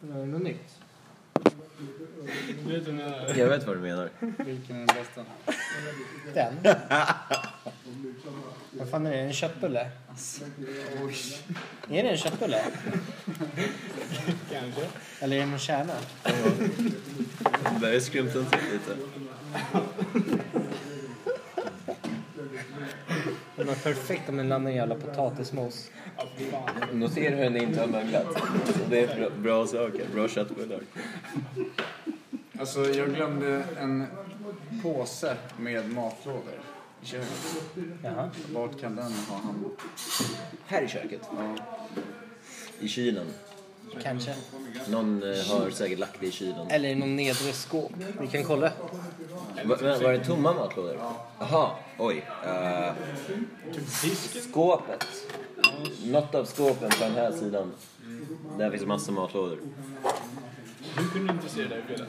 Det var något nytt. Jag vet vad du menar. Vilken är den bästa? Den. Vad fan är det? En köttbulle? Är det en köttbulle? Kanske. Eller är det någon kärna? Det där är skrymten till lite. Det var perfekt om den landade i en jävla potatismos. Notera hur den inte har möglat. Det är bra, bra saker. Bra köttbullar. Alltså, jag glömde en påse med matlådor i köket. Jaha. Vart kan den ha hamnat? Här i köket. Ja. I kylen. Kanske. Någon eh, har säkert lagt det i kylen. Eller i någon nedre skåp. Vi kan kolla. Va, va- var det tomma matlådor? Jaha, oj. eh, skåpet. Något av skåpen på den här sidan. Där finns massa matlådor. Du kunde inte se det där felet.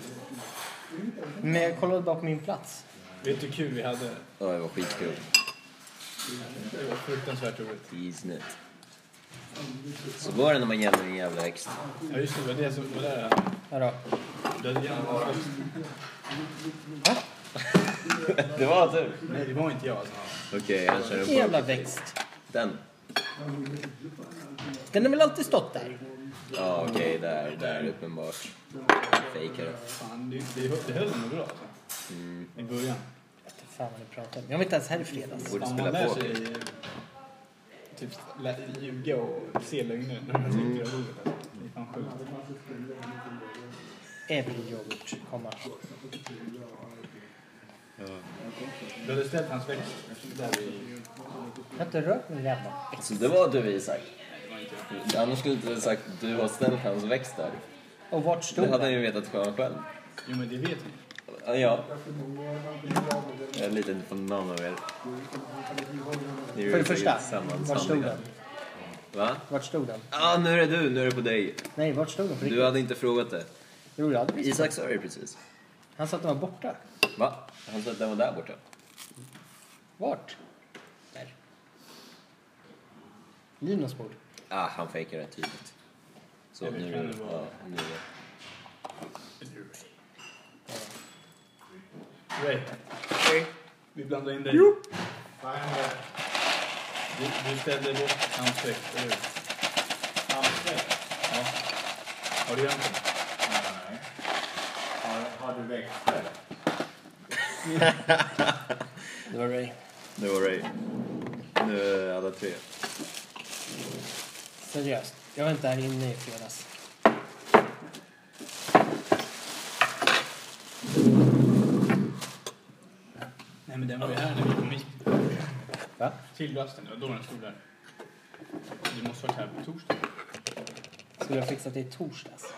Men jag kollade bara på min plats. Vet du hur kul vi hade? Ja, det var skitkul. Det var fruktansvärt roligt. Isnet. Så var det när man jämnar en jävla växt. Ja just det, det var det som var där. Vadå? Det hade gärna varit bäst. Det var tur. Nej det var inte jag alltså. Okej, jag kör en Jävla växt. Den. Den har väl alltid stått där? Ja, okej, där, där, uppenbart. Fejkare. Fan, det, det, det höll nog bra alltså. Mm. I början. Jag vet inte fan vad ni pratar om. Jag var inte ens här i fredags. Borde Fan, man lär spela poker. sig eh, typ lä- ljuga och se lögner när man sitter i livet. alltså. Det är fan sjukt. Every yoghurt, komma. Du hade ställt hans växt där i... Jag har inte rört min jävla Så det var du, Isak. Annars skulle du inte sagt att du har ställt hans växt där. Och vart Det stod hade han den? ju vetat själv. själv. Jo men det vet vi. Ja, Ja. Jag är lite imponerad av er. Ni är ju För det säkert första, samman- vart stod sanningar. den? Va? Vart stod den? ah, nu är det du. Nu är det på dig. Nej, vart stod den? För Du hade inte frågat det. Jo, jag hade visst. Isak sa ju precis. Han sa att den var borta. Va? Han sa att den var där borta. Vart? Där. Linos bord. Ah, han fejkar det tydligt. Så Det nu... kan det vara. Ja, nu. Ray. Vi blandar in dig. Jo. Du, du ställde bort hans växt, eller hur? Ja. Har du gömt den? Det var Ray. Nu var det... Nu är alla tre. Seriöst, jag var inte här inne i fredags. Nej men den var ju här när vi kom hit. Va? Till rasten, det var då den stod där. Du måste ha varit här på torsdag. Skulle jag fixat det i torsdags?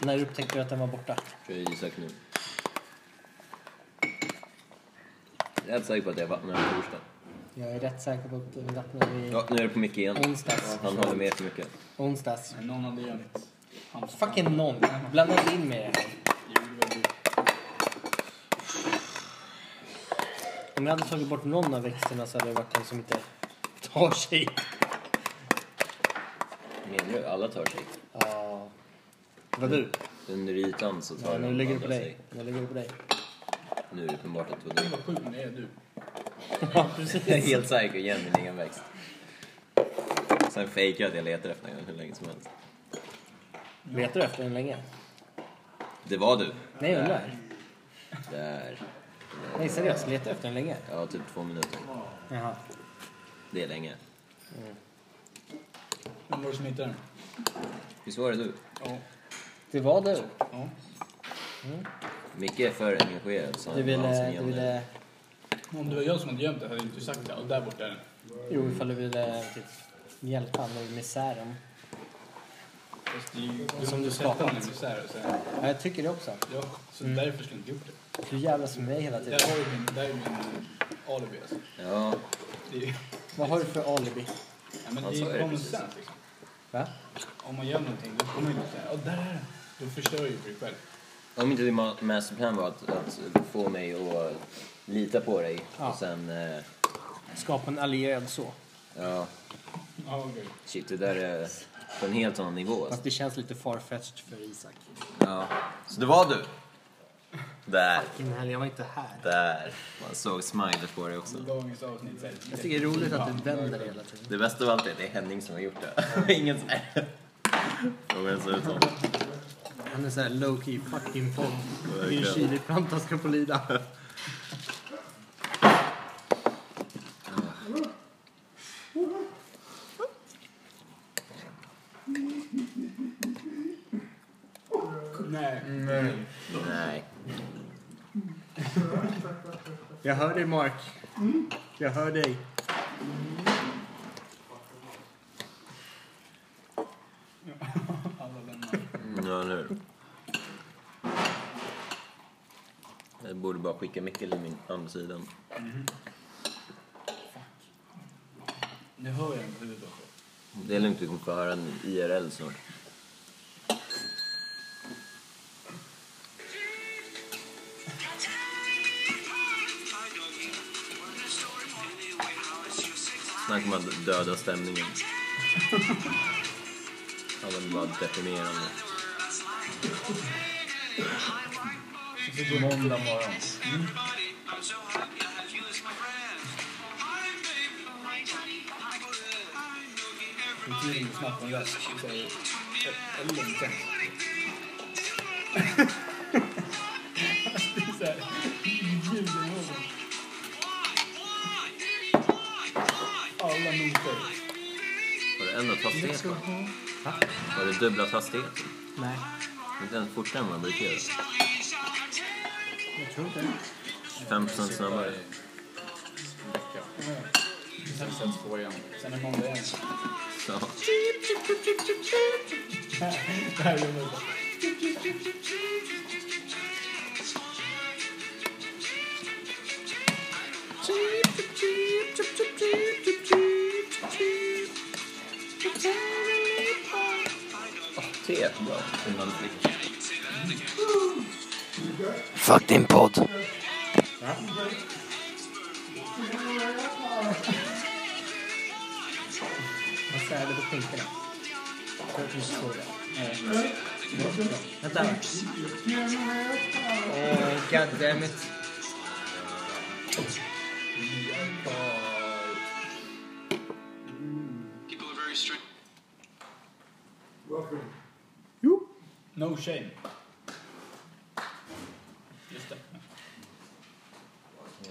När upptäckte du att den var borta? Tror jag Isak nu. Jag är rätt säker på att jag vattnade den på torsdagen. Jag är rätt säker på att den vattnade i Ja, nu är det på Micke igen. onsdags. Han håller med för mycket. Onsdags. Men någon hade gömt hans... Fucking någon. Blanda inte in mig i det här. Jo, det var du. Om jag hade tagit bort någon av växterna så hade det varit en som inte tar sig. Menar du? Alla tar sig. Ja. Det var du. Under ytan så tar Ja, nu de ligger det andra på dig. sig. Nu ligger det på dig. Nu är det uppenbart att det var Det du. var sjukt, det är du. Ja, Jag är precis. helt säker igen min egen växt. Sen fejkar jag att jag letar efter den hur länge som helst. Vet du efter den länge? Det var du. Nej, jag undrar. Där. Nej, seriöst. Letar du efter den länge? Ja, typ två minuter. Jaha. Det är länge. Vem var det som hittade den? Visst var det du? Ja. Det var du. ja. Micke är för engagerad så Du han var han som ville... Du gömde den. ville Om det var jag som hade gömt det hade jag inte sagt det. Och där borta är den. jo, ifall du ville typ, hjälpa honom ur misären. Fast det är ju... Som har du inte sett skapat. den i misär och sen... Ja, jag tycker det också. Ja, så därför skulle jag inte gjort det. Du jävlas med mig hela tiden. Alltså, Där har ju min, där är min alibi alltså. eh, Ja, Det är, ju- Vad har du för alibi? ja, men Han det sa är Alltså, det ju common precis. sense liksom. Va? Om man gör någonting då kommer man ju säga åh där är den. Då förstör ju du dig själv. Om inte din ma- masterplan var att, att få mig att lita på dig Ja. och sen... Eh, Skapa en allierad så. ja, Ja, okej. Shit, det där är på en helt annan nivå. Alltså. Fast det känns lite farfetched för Isak. Ja. Så det var du. Där, Fucking hell, jag var inte här. där. Man såg smilet på dig också. Dagens avsnitt. så här, Jag tycker det är roligt att det vänder hela tiden. Det bästa av allt är att det är Henning som har gjort det. Ingen som är... Frågar ens ut honom. Han är såhär low key fucking podd. Min Verkligen. chiliplanta ska få lida. Nej. Nej. Jag hör dig Mark. Jag hör dig. Alla lämnar. Ja, nu. Jag borde bara skicka Mickel till min andra sidan. Nu hör jag inte huvudet också. Det är lugnt, vi kommer få höra en IRL snart. Snacka om att döda stämningen. Ja, men bara deprimerande. Måndag morgon. Det är ju snabbt en röst. Så här, ett- ett lugnt tempo. Det är så här, ljud i munnen. Alla noter. Var det ändrat hastighet? va? Var det dubblat hastighet? Nej, Inte ens fortare än man brukar göra. jag tror inte det. 5 snabbare. En vecka. Sen sätts på igen. Sen är måndag igen. Ja. Det här är ju måndag. Te är bra. Innan drick. Fuck din podd. Vad säger du på skinkorna? Vänta. Åh, goddammit. No shame. Just det.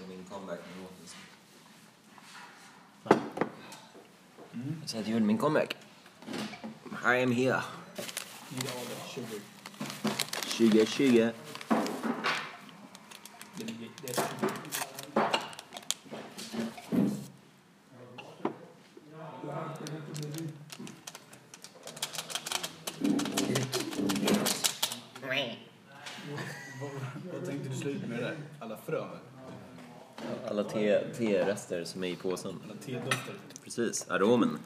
Min comeback med låten. Jag säger att jag gjorde min comeback. I am here. Nida Adler, 20. 2020. Det blir- det är 20. Vad tänkte du sluta med det där? Alla frön? Alla te- te-rester som är i påsen. Alla tedofter? Precis, aromen.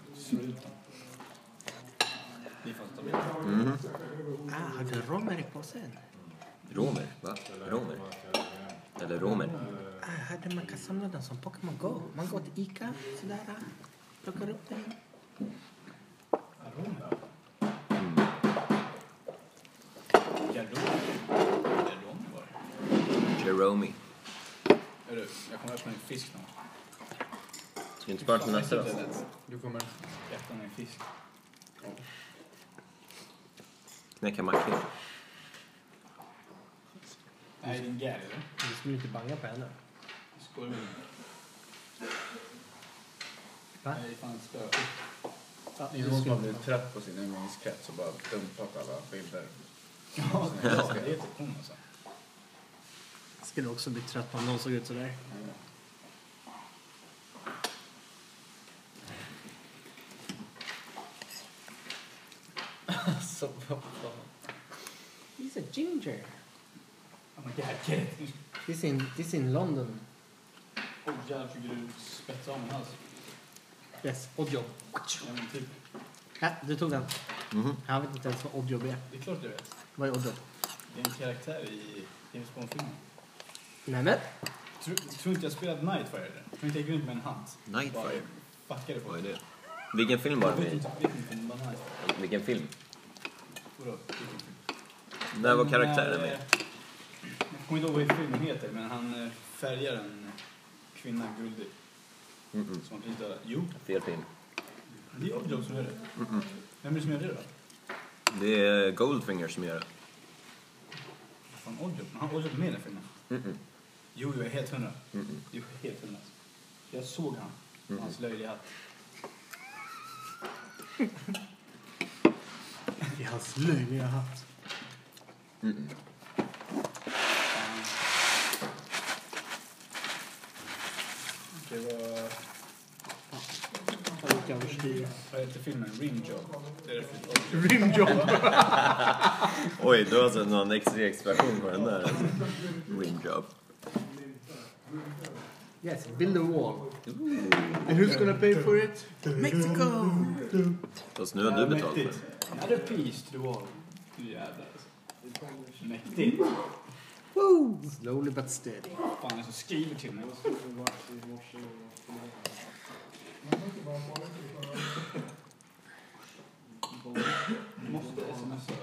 Ni fattar väl? Ah, har du romer i påsen? Romer, va? Romer? Eller romer? Ah, hade man kan samla den som Pokémon Go. Man går till Ica, sådär. ah, Plockar upp den. Jeromi. Hörru, jag kommer öppna en fisk nu. Ska vi inte spara till nästa då? Du kommer? Hjärtan är en fisk. Knäcka mackor. Det här är din gag, eller? Du skulle inte banga på henne. Skål med Va? Nej, det är fan spökigt. Ja, Det är någon som har blivit trött på sin umgängeskrets och bara dumpat alla bilder. Ja, det är typ hon alltså. Skulle också bli trött om någon såg ut sådär. Alltså, vad fan. He's a ginger. Oh my god, get it. This in, this in London. Åh jävlar, fick du spetsa av min hals? Yes, oddjob. Ja, men typ. Ja, du tog den. Mhm. Han vet inte ens vad oddjob är. Det är klart du vet. Vad är oddjob? Det är en karaktär i James Bond-filmen. Nämen. Tror tror inte jag spelat Nightfire eller? Tror inte jag gick runt med en hand. Nightfire? Bara Fuckade på. Vad är det? Vilken film var det vi Jag vet inte om den här. Vilken film? Vadå? När var karaktären När, eh, med? Jag kommer inte ihåg vad filmen heter, men han eh, färgar en kvinna guldig. Mm-mm. Som precis dödade. Jo, Fel film. det är jag Jones som gör det. Mm-mm. Vem är det som gör det då? Det är Goldfinger som gör det. Fan, Oddjob? Men Han Oddjob med i den här filmen? Mm-mm. Jo, jag är helt hundra. Mm-mm. Jo, jag är helt hundra. alltså. Jag såg han. och Hans löjliga hatt. I hans löjliga hatt. Mm-mm. Fan. Det var... Han gick överstyr. Vad heter filmen? Rimjob. Det är det för Rymdjobb! Oj, du har sett någon extra expression på den där. Ringjob. Yes, build a wall. Ooh. And who's gonna pay for it? Fast nu har du betalt för det. Mäktigt. Another piece to the wall. Nu jävlar alltså. Mäktigt. Woo! Slowly but steady. Fan, jag som skriver till mig. Måste smsa.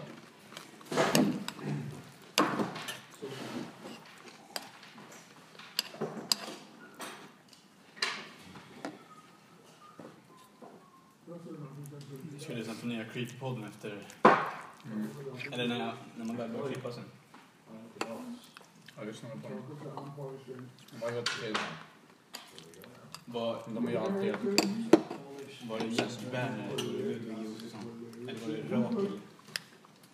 Jag skulle lyssna på nya Creep-podden efter... Eller när, jag, när man väl börjar klippa sen. Jag lyssnade på dem. De var helt okej. Var, De är ju alltid helt okej. var det Jens Werner och Ludvig Josefsson? Eller var det Rakel?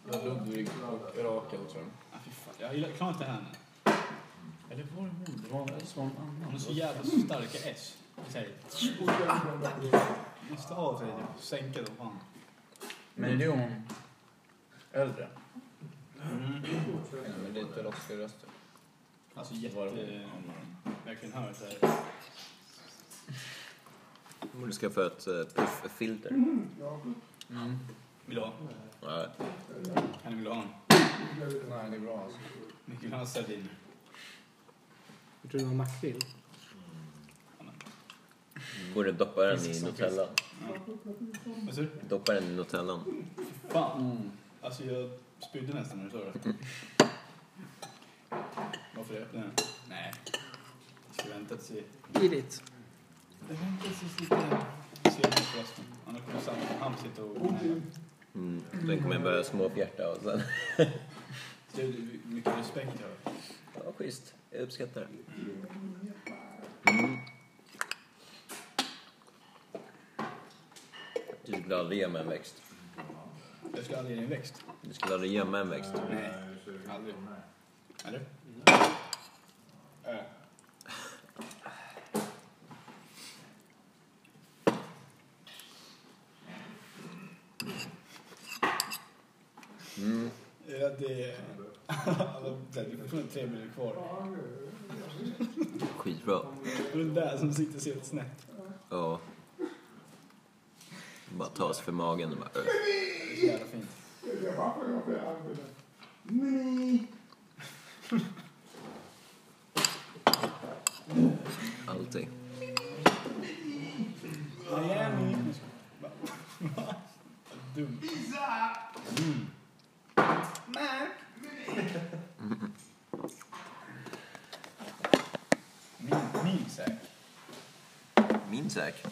Det var Ludvig och Rakel tror jag. Ah, fy fan. Jag gillar, klarar inte henne. Eller var det hon? Det var, eller så var det någon Hon annan. har så jävla starka S. Så här, Måste ha sig det. Sänka dem fan. Men det är hon äldre. Mm. Med lite raskare röster. Alltså jätte... Var det Mm. Verkligen hör så här. Du ska få ett eh, pufffilter. Mm. Vill du ha? Ja, Han vill ha en. Nej, det är bra alltså. Ni vill ha sardiner. Jag tror det var makrill. Borde doppa den i Nutella. Vad sa du? Doppa den i Nutellan. Fan. Mm. Alltså jag spydde nästan när du sa det. Varför det? Nej. Nej. Jag ska vänta till... Eat it. Jag väntar tills lite... Se den här resten. Annars kommer Sam Hamsit och... Nej. Mm. Den kommer jag börja småfjärta och sen... Det är mycket respekt jag har. Ja, schysst. Jag uppskattar det. Du skulle aldrig gömma en växt. Jag ska aldrig ge dig en växt. Du skulle aldrig gömma en växt. Nej. Aldrig. Eller? Äh. Mm. Ja, Eh, det... Alla, det är fortfarande tre minuter kvar. Skitbra. Och den där som sitter så helt snett. Ja. Bara ta oss för magen och bara... "Öh." Det är så jävla fint. Allting. Miami. Va? Va? Vad Dum. Mm. Min, min säk. Min säk.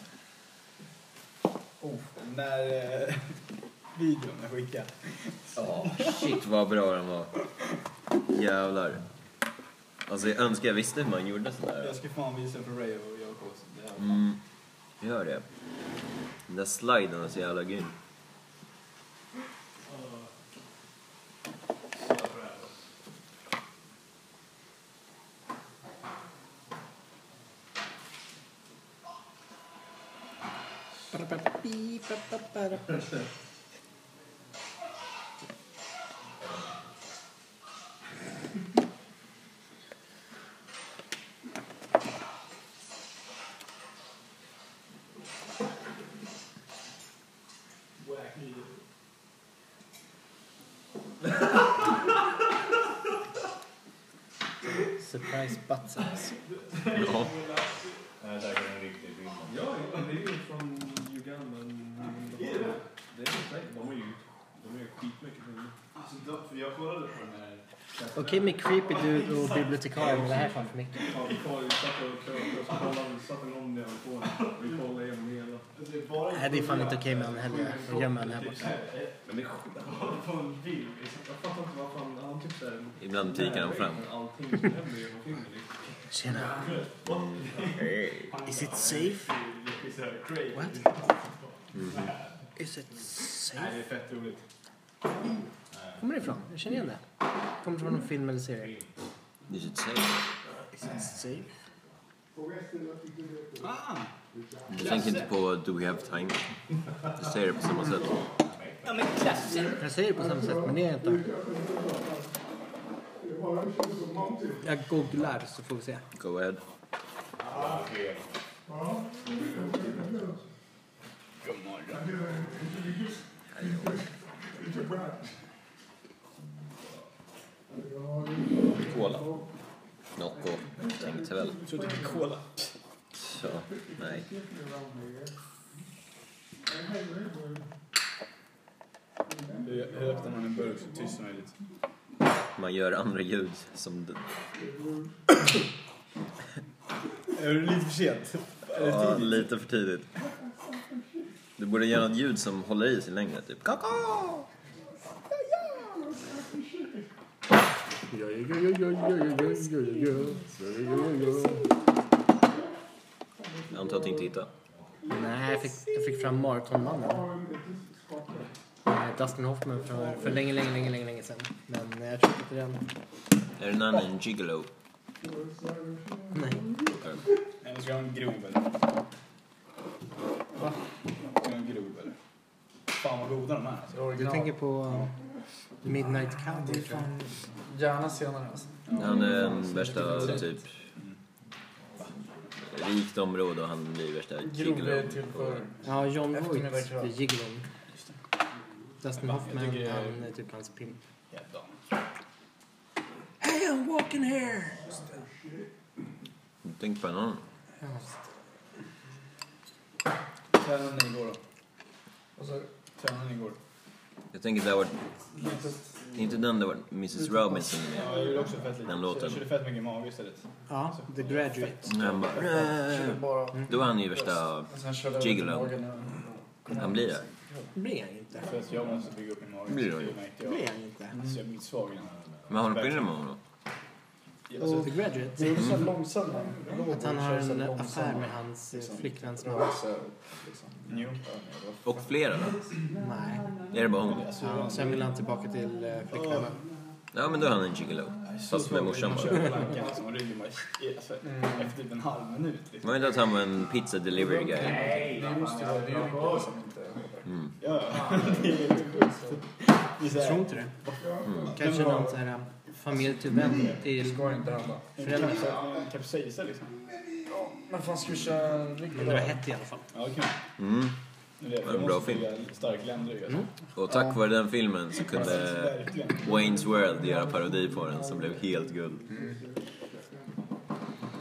Oh, den där eh, videon jag skickade. Ja, shit vad bra den var. Jävlar. Alltså jag önskar jag visste hur man gjorde Jag sådär. ska fan visa för Ray och jag och Kås. Det här. Mm, gör det. Den där sliden är så jävla grym. Surprise butt sex. Ja. Nej, det där är en riktig film. Ja, det är ju från Uganda. slutat Alltså, för jag kollade på den här. Okej med creepy dude och bibliotekarie, men det här är fan för mycket. Ja, vi kollade, vi satt och krökade och så kollade vi, satte någon jävel på den. Vi kollade igenom hela. Nej, det är fan inte okej med han heller. Då gömmer han här borta. Men det är sjukt. Han kollade på en film. Jag fattar inte vad fan, han typ såhär... Ibland dyker han fram. Allting som händer genom filmen liksom. Tjena. Hey. Is it safe? Det är så här crazy. What? Is it safe? Det är fett roligt. Kommer det ifrån? Jag känner igen det. Kommer från någon film eller serie. You should say. Is it safe? Ah, Du tänker inte på Do We Have Time? Du säger det på samma sätt. ja men klassen. Jag säger det på samma sätt, men det är jag inte. Jag googlar så får vi se. Go ahead. God morgon. Cola. Nocco. Tänkte väl. Så dricker cola. Så, nej. Hur hur öppnar man en burk så tyst som möjligt? Man gör andra ljud som... d- Är du lite för sent? Eller Ja, tidigt? lite för tidigt. Du borde göra något ljud som håller i sig längre, typ. Kaka! Jag antar att du inte hittar. Nej, jag fick, jag fick fram Maratonmannen. Eh, Dustin Hoffman för, för länge, länge, länge, länge, länge sedan. Men eh, jag tror inte den. Är det någon en gigolo? Nej. Nej, men ska jag ha en grov eller? Va? Ska jag ha en grov eller? Fan vad goda de är. alltså. Du tänker på eh, Midnight Cowboy tror jag. Gärna senare alltså. Han är den värsta, typ... Rikt område och han blir värsta gigolo. Grov till för... Ja, John Eftermiddag, Voight tror jag. blir gigolon. Dustin Jag Hoffman, tycker- eh, han är typ hans pimp. Jävlar. Hey, I'm walking here! Tänk på en annan. Ja. Tränade ni igår då? Och så Tränade ni igår? Jag tänker det var lite... inte den det var Mrs Robinson med. Ja, jag gjorde också fett lite. Den låten. Jag körde fett mycket mage istället. Ja, The Graduate. När Han bara... Körde bara... Då var han ju värsta... Och sen körde jag Gigolo. över till magen och- Han blir det. Det blir han ju inte. För att jag måste bygga upp min mage. Blir det? Så jag märkte Det jag. blir han ju inte. Alltså jag är svag i den. Men har du skillnad med honom? Alltså, Och The Graduate. Det gjorde såhär långsamma. Mm. Att han har en affär med hans eh, flickväns mamma. liksom. Jo. Och flera då? Nej. Är det bara hon? Ja, sen vill han tillbaka till eh, flickvännen. Ja men då är han en gigolo. Fast med morsan Man bara. kör plankan liksom och ryggen bara... Alltså, efter typ en halv minut liksom. Var inte att han var en pizza delivery guy? Nej, det måste ju vara... Det är ju mycket som inte... Ja, ja. Det är helt sjukt. Det är så Jag tror här- inte det. Kanske någon sån här eh, familj till vän till Mm. Ska inte hända. en föräldrar. kapsa- en Kapsejsa liksom. Men fan ska vi köra en Men det var ryggrad? hett i alla fall. Ja, det kan Mm. Det är det. var Jag en bra måste film. bygga Stark ländrygg alltså. Och tack vare den filmen så kunde Verkligen. Wayne's World göra parodi på den som blev helt guld.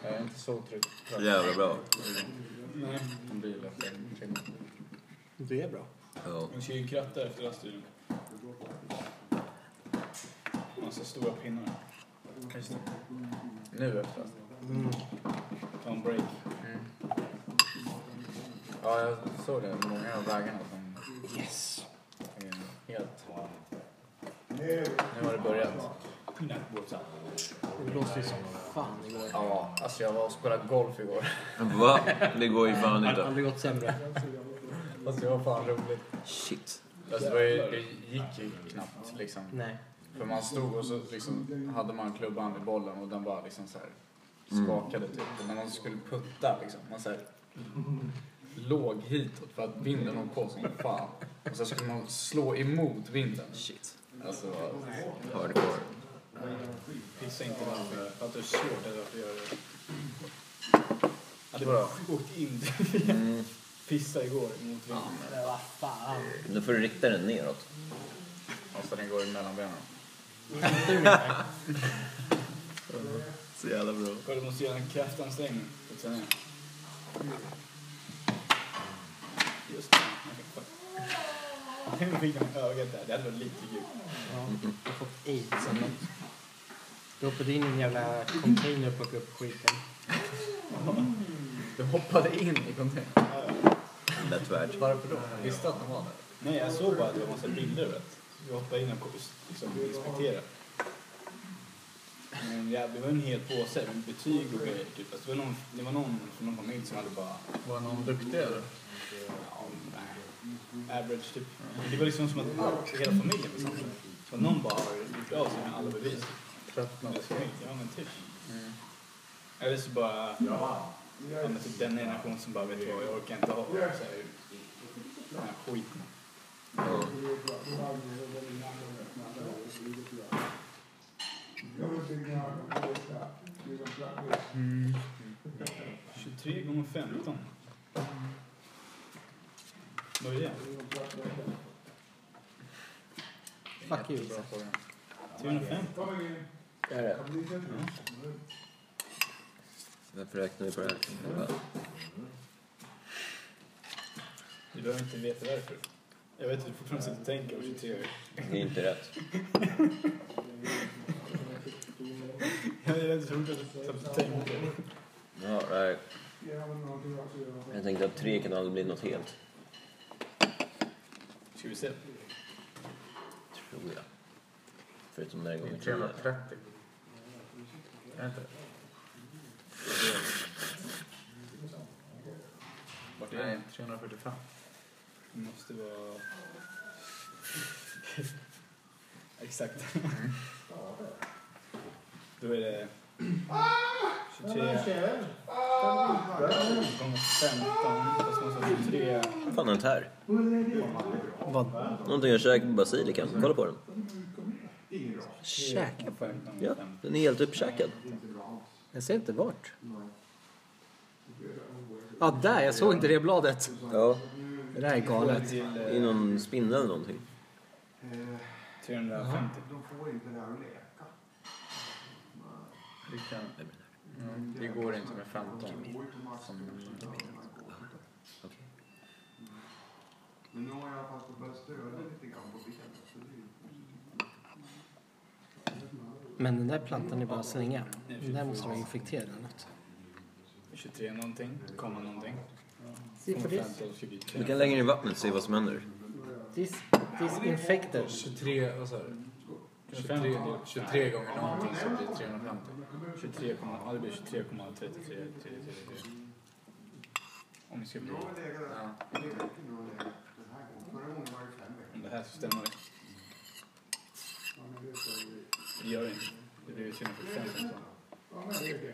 Jag är inte så trygg. Så jävla bra. Mm. Han blir lätt. Du är bra. Ja. Vi ska ju kratta efter lastbilen. Massa stora pinnar. Nu efter. Mm. Ta en break. Mm. Ja, jag såg det. Många av vägarna som Yes. är helt... Nu har det börjat. Pinnakbåtar. Det blåste ju som fan igår. Ja, alltså jag var och spelade golf igår. Va? Det går ju fan Det har inte. aldrig gått sämre. Alltså det var fan roligt. Shit. Alltså det, var ju, det gick ju knappt liksom. Nej. För man stod och så liksom hade man klubban i bollen och den bara liksom så här skakade typ. Och när man skulle putta liksom, man så här låg hitåt för att vinden låg på som fan. Och sen skulle man slå emot vinden. Shit. Alltså, Hardcore. Pissa inte varandra. För att det är svårt att varför göra det. Hade Vadå? åkt in till Mm. Pissa igår mot vinden. Men vad fan. Då får du rikta den neråt. alltså den går mellan benen. Så jävla bra. Kolla, du måste göra en kraftansträngning på träningen. Just det. Nu fick han ögat där. Det hade varit lite kul. Ja, jag har fått aids eller något. Du hoppade in i en jävla container och plockade upp skiten. Du hoppade in i containern. Lätt värld. Varför då? Visste att de var där? Nej, jag såg bara att det var massa bilder. Vet. Jag hoppade in och liksom, inspekterade. Men ja, det var en hel påse med betyg och grejer. Typ. Alltså, det var någon, det var någon från någon familj som hade bara... Var någon duktig eller? Ja, nej, average, typ. Det var liksom som att allt, hela familjen var samma. Så någon bara har gjort av sig med alla bevis. Tröttnade? Deras familj, Ja, men typ. Eller så bara... Ja, men typ den generationen som bara vet du vad, jag orkar inte ha så här, den här skiten. Mm. 23 gånger 15. Vad är det? Fuck you. Isak. 350? Är det? Varför räknar vi på det här? Själva? Du behöver inte veta varför. Jag vet att du fortfarande sitter och tänker på 23 år. Det är inte rätt. Jag är rätt så roligt att du tänker. Ja, nej. Jag tänkte att tre kan aldrig bli något helt. Ska vi se? Tror jag. Förutom den här Det är gången. 330. Är det inte? Vart är det? 345. Det måste vara... Exakt. Då är det 23 gånger 15. Fast man sa 23. Vad fan är det här? Vad? Någonting jag käkat på basilikan. Kolla på den. Käk? 15 Ja, den är helt uppkäkad. Jag ser inte vart. Ja, där. Jag såg inte det bladet. Ja, Det där är galet. till det är eh, någon spindel eller någonting. 350. De får inte det här att leka. Det, kan... Mm, det går inte med 15. Mm. Men nu har jag i alla fall fått börja störa lite grann på benet. så det är ju positivt. Men den där plantan är bara att slänga. Den där måste vara infekterad eller något. 23 någonting, komma någonting. See for this? 15 fick vi tre. Du kan lägga den i vattnet och se vad som händer. This, this infected. 23, vad sa du? 23, 23 gånger någonting så blir det 350. 23, komma- ja, det blir 23,33. Om vi ska bli... Ja. Om det här stämmer. Det gör det inte. Det blir 345 som sa. Det är fel.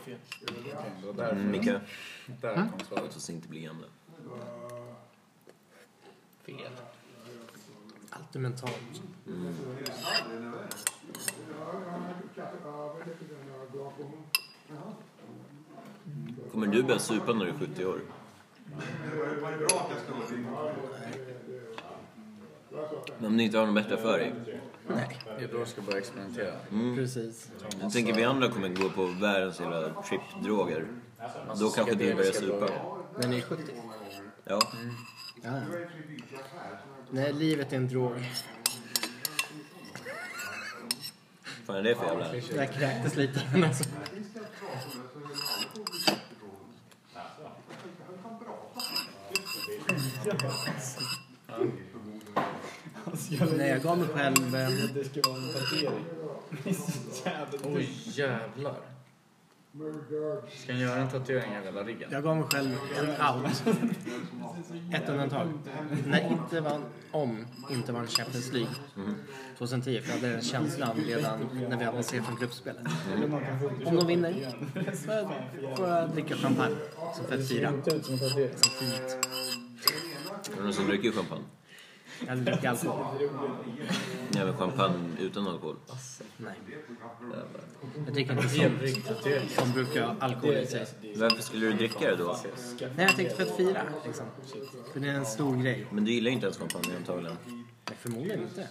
Okej, det var Mm, därför. Micke, Där kom låt svaret. oss inte bli gamla. Fel. Allt är mentalt. Kommer du börja supa när du är 70 år? Men om ni inte har något bättre för er. Det är då jag ska börja experimentera. Precis. Jag tänker vi andra kommer gå på världens jävla trippdroger. Då kanske du börjar supa. Den är 70. Ja. Ja. Nej, livet är en drog. fan är det för jävla... Det där kräktes lite. men Alltså. Nej, jag gav mig själv... eh, Det ska vara en parkering. Det är så jävla dumt. Oj jävlar. Ska han göra en tatuering i hela ryggen? Jag gav mig själv en out. Ett undantag. När inte var om inte var en Champions League 2010. För jag hade den känslan redan när vi avancerade från gruppspelet. Om de vinner så får jag dricka champagne. Som fett fyra. Som fint. Är det någon som dricker champagne? Jag hade druckit alkohol. Nej men champagne utan alkohol. Nej. Jag dricker inte sånt som brukar alkohol i sig. Varför skulle du dricka det då? Nej, jag tänkte för att fira. Liksom. För det är en stor grej. Men du gillar ju inte ens champagne antagligen. Nej, förmodligen inte.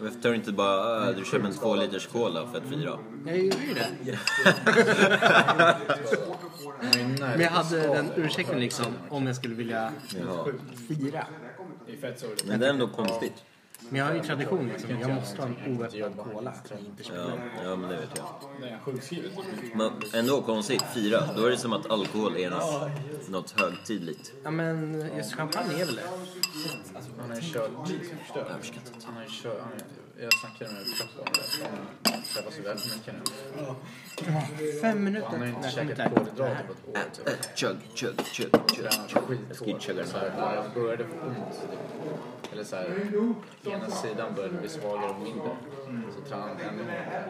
Varför tar du inte bara, äh, du köper en två liters cola för att fira? Jag gjorde ju det. Men Men jag hade den ursäkten liksom om jag skulle vilja Ja. fira. Det är fett sorgligt. Men det är ändå konstigt. Men jag har ju tradition liksom. Jag måste ha en oöppnad cola. Ja, ja men det vet jag. När jag är sjukskriven. Men ändå konstigt, fira. Då är det som att alkohol är något, något högtidligt. Ja men just champagne är väl det? Han har ju kört Jag förstår inte. Han har ju kört... han har- Jag snackade med Klopp om det. Han träffar så väl för mycket nu. Fem Och Han har minuter. ju inte Nej, käkat där. kolhydrater på ett år. typ. Äh, Chug, chug, chug, chug. tränar skithårt. skitchuggar den Så här. här, bara jag började få ont. typ. Eller så här, ena sidan började bli svagare och mindre. Så tränade han ännu mer.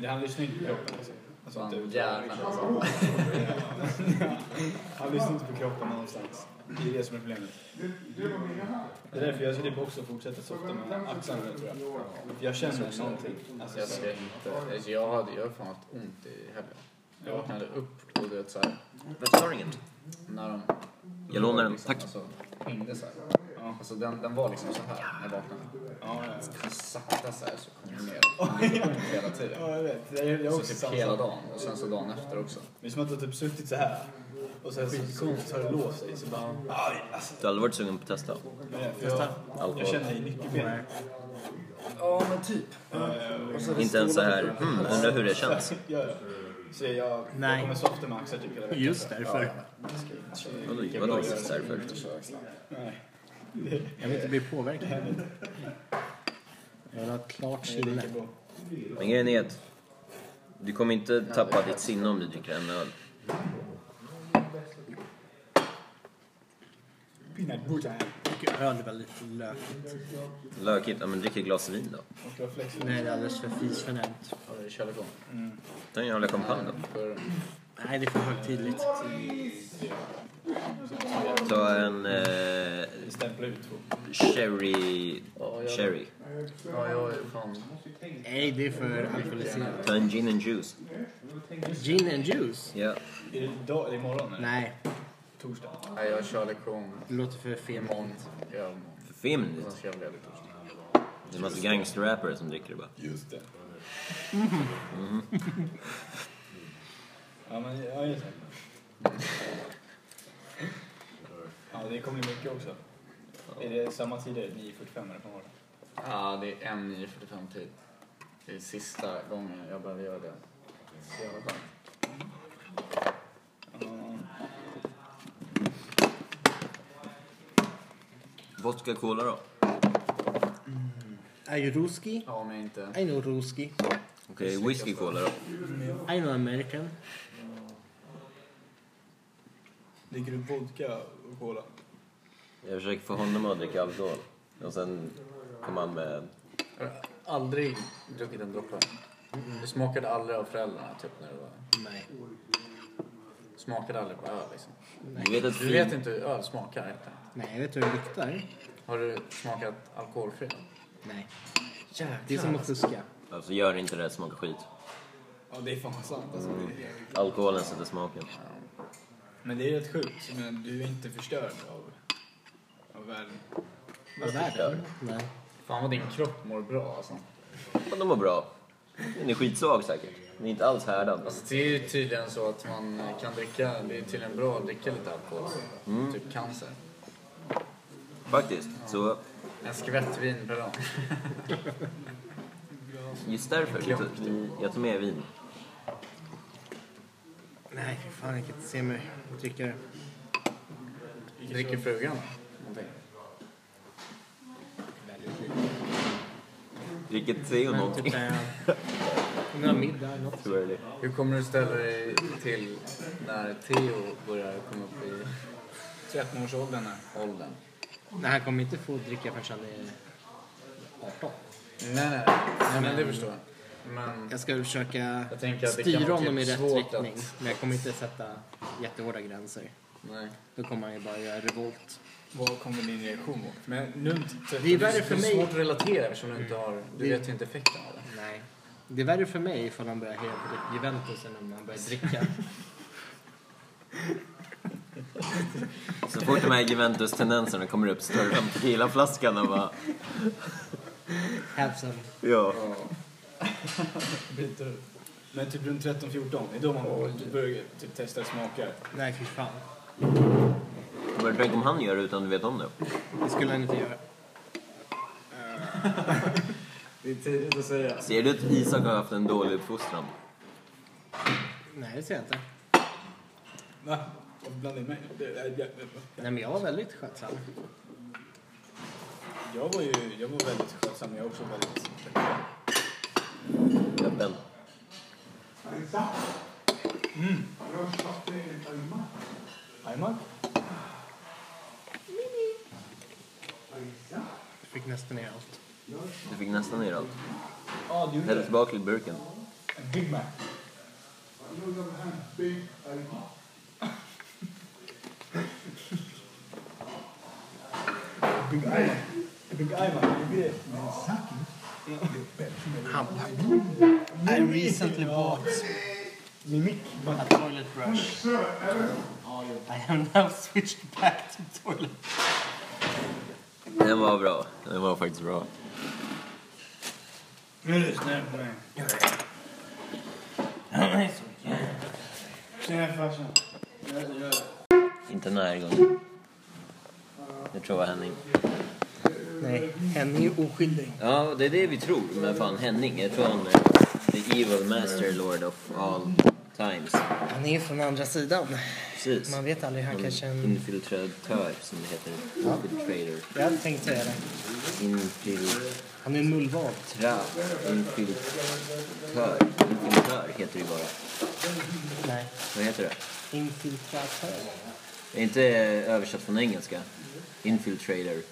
Men han lyssnar inte på kroppen. Alltså. Alltså, Så inte han alltså. ut. hjärnan. Han lyssnar inte på kroppen någonstans. Det är det som är problemet. Det är därför jag skulle också fortsätta softa med axlarna tror jag. För Jag känner också någonting. Alltså, Jag ska inte... Alltså jag hade jag har fan haft ont i helgen. Jag vaknade upp och du vet så här, Varför tar du inget? när de... Jag lånar den. liksom, Tack. Alltså, hängde så här. Alltså den, den var liksom så här när jag vaknade. ja, ja. Så Sakta så här så kom jag ner. Hela tiden. ja, jag vet. Det är, jag är Så också typ samma hela sak. dagen och sen så dagen efter också. Det är som att du har typ suttit så här. Och sen så, så har det låst sig. Så bara... Aj, alltså. Du har aldrig varit sugen på att testa? Men det- för jag, jag Alkohol? känner i nyckelbenet. Ja men typ. Inte ens så här, hmm, undrar hur det känns? Ja, ja. Så jag, jag Nej. kommer softa med axlar typ hela veckan. Just därför. Vadå, vadå just därför? Nej. Jag vill inte bli påverkad. Jag vill ha ett klart sinne. Men grejen är att du kommer inte tappa ditt sinne om du dricker en öl. Peanut butter. Jag tycker öl är väldigt lökigt. Lökigt? Ja men drick ett glas vin då. Och jag flexar. Nej, det är alldeles för fisförnämt. Ja, det är kärlekon. Mm, Ta en jävla champagne då. För Nej, det är för högtidligt. Ta en eh, Stämpla ut två. sherry... Ja, jag- Sherry. Ja, jag är fan... Nej, det är för alkoholiserat. Ta en gin and juice. Gin and juice? Ja. Är det idag eller imorgon? Eller? Nej, Torsdag. Nej, jag kör lektion det låter för fint. imorgon. Ja, imorgon. För Fem Sen ska jag ledig torsdag. Det är en massa gangsterrappare som dricker det bara. Just det. Mm-hmm. ja, men ja, just det. Ja, det kommer bli mycket också. Är det samma tider? 9.45 eller på morgonen? Ja, det är en 9.45 tid. Det är sista gången jag behöver göra det. Så jävla skönt. Vodka cola då? Är ju ruski? Ja, men inte... I know ruski. Okej, Eh, whisky cola då? I know American. Dricker du vodka och cola? Jag försöker få honom att dricka alkohol. Och sen kom han med... Jag har aldrig druckit en droppe. Det smakade aldrig av föräldrarna, typ, när det var... Nej. Smakade aldrig på öl, liksom. Du vet att Du vet fin... inte hur öl smakar, helt enkelt. Nej, jag vet hur det luktar. Har du smakat alkoholfri? Nej. Det är som att fuska. Alltså gör inte det, det smakar skit. Ja, det är fan sant alltså. Alkoholen sätter smaken. Men det är rätt sjukt. Men du är inte förstörd av, av världen. Vad är det? Nej. Fan vad din kropp mår bra, alltså. Men de mår bra. Den är skitsvag säkert. Den är inte alls härdad. Alltså, det är ju tydligen så att man kan dricka, det är tydligen bra att dricka lite alkohol. Typ cancer. Faktiskt. Så En skvätt vin per dag. just därför. Vi, tog- vi, jag tog med vin. Nej, fan jag kan inte se mig dricka det. Dricker frugan någonting? Vilket säger hon Men någonting? typ såhär... Några middag eller något. Tror jag det. Hur kommer du ställa dig till när Theo börjar komma upp i 13-årsåldern här. åldern? Nej, han kommer inte få dricka förrän han är 18. Nej, nej, nej men det förstår jag. Men Jag ska försöka Jag tänker att det kan styra vara honom i typ rätt svårt riktning. att- Men jag kommer inte sätta jättehårda gränser. nej. Då kommer han ju bara göra revolt. Vad kommer din reaktion vara? Men nu... Det är värre Det för är svårt mig... att relatera eftersom du inte har, du Det- vet ju inte effekten av det. Nej. Det är värre för mig ifall han börjar heja på typ Juventus än om han börjar dricka. Så fort de här Juventus-tendenserna kommer upp så tar du fram tequilaflaskan och bara... Hälsan. Ja. Byter ut. Men typ runt 13-14, det är då man börjar typ testa smaker. Nej, fy fan. Men tänk om han gör det utan du vet om det. Det skulle han inte göra. Det är tidigt att säga. Ser du att Isak har haft en dålig uppfostran? Nej, det ser jag inte. Va? Varför blandar du in mig? Det- det- det- Nej, men jag var väldigt skötsam. Jag var ju jag var väldigt skötsam, men jag var också väldigt... Öppen. Ajman? Jag fick nästan ner allt. Du fick nästan ner allt. Ja, du gjorde Häll det. tillbaka till burken. En Big Mac. Big Ivan. Big Ivan, det blir det. Han I recently bought Mimik. a toilet brush. I have now switched back to toilet. Den var bra. Den var faktiskt bra. Nu är du snäll på mig. Tjena farsan. Inte den här gången. Det tror jag var Henning. Nej, Henning är oskyldig. Ja, det är det vi tror. Men fan, Henning. Jag tror han är the evil master lord of all times. Han är från andra sidan. Precis. Man vet aldrig, han kanske... är En... Infiltratör, som det heter. Infiltrator. Jag hade tänkt säga det. Infiltrat. Han är en mullvad. Infiltör. Infiltör heter det bara. Nej, Vad heter det? infiltratör. Det är inte översatt från engelska. Infiltrator.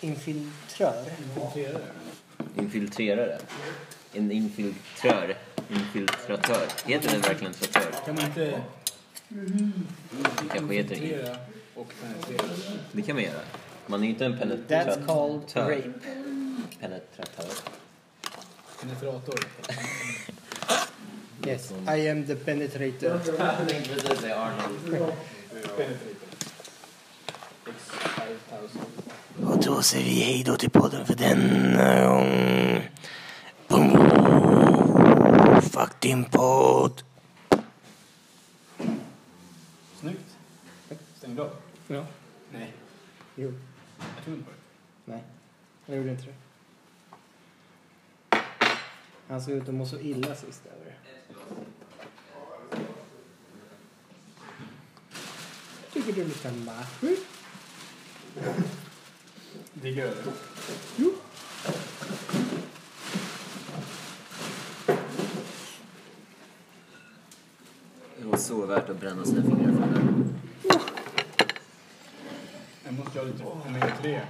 Infiltrör. Infiltrerare. En infiltrör. Infiltratör. Heter det verkligen tratör? Kan man inte Det kanske heter det. filtrera och penetrera? Det kan man göra. Man är ju inte en penetratör. That's called rape. Penetratör. Penetrator. Yes, I am the penetrator. Jag tänkte precis säga Arnold. Penetrator. X5000. Och då säger vi hej då till podden för denna gång. Boom. Fuck din podd. Snyggt. Stängde av? Ja. Nej. Jo. Jag tror inte på det. Nej, jag gjorde inte det. Han såg ut att må så illa sist över det. Tycker du luktar maffin? Diggar du det? Det var så värt att bränna sina fingrar för det här. Jag måste ha lite omega-3.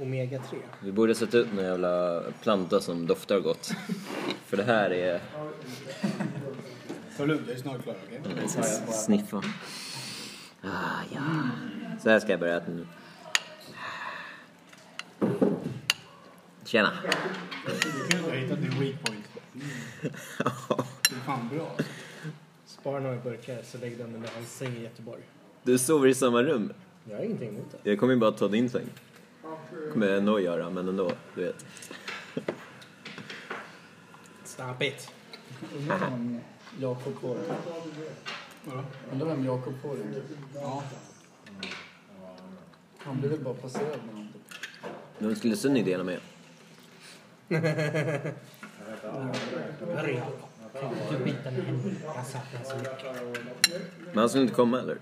Omega 3. Vi borde sätta upp någon jävla planta som doftar gott. För det här är... Ta det lugnt, jag är snart klar. Okej? Jag ska sniffa. Ah, ja. Så här ska jag börja äta nu. Tjena. Det är kul att jag hittat din weak point. Det är fan bra. alltså. Spara några burkar så lägg dem under hans säng i Göteborg. Du sover i samma rum. Jag har ingenting emot det. Jag kommer ju bara ta din säng. kommer jag ändå göra, men ändå. Du vet. Stop it. Undrar vem Jakob får det. Vadå? Undrar vem Jakob får det. Ja. Han blir väl bara passerad med någon typ. De skulle Sunny dela med. Hörru Du bitar mig. Jag saknar så mycket. Men han skulle inte komma eller?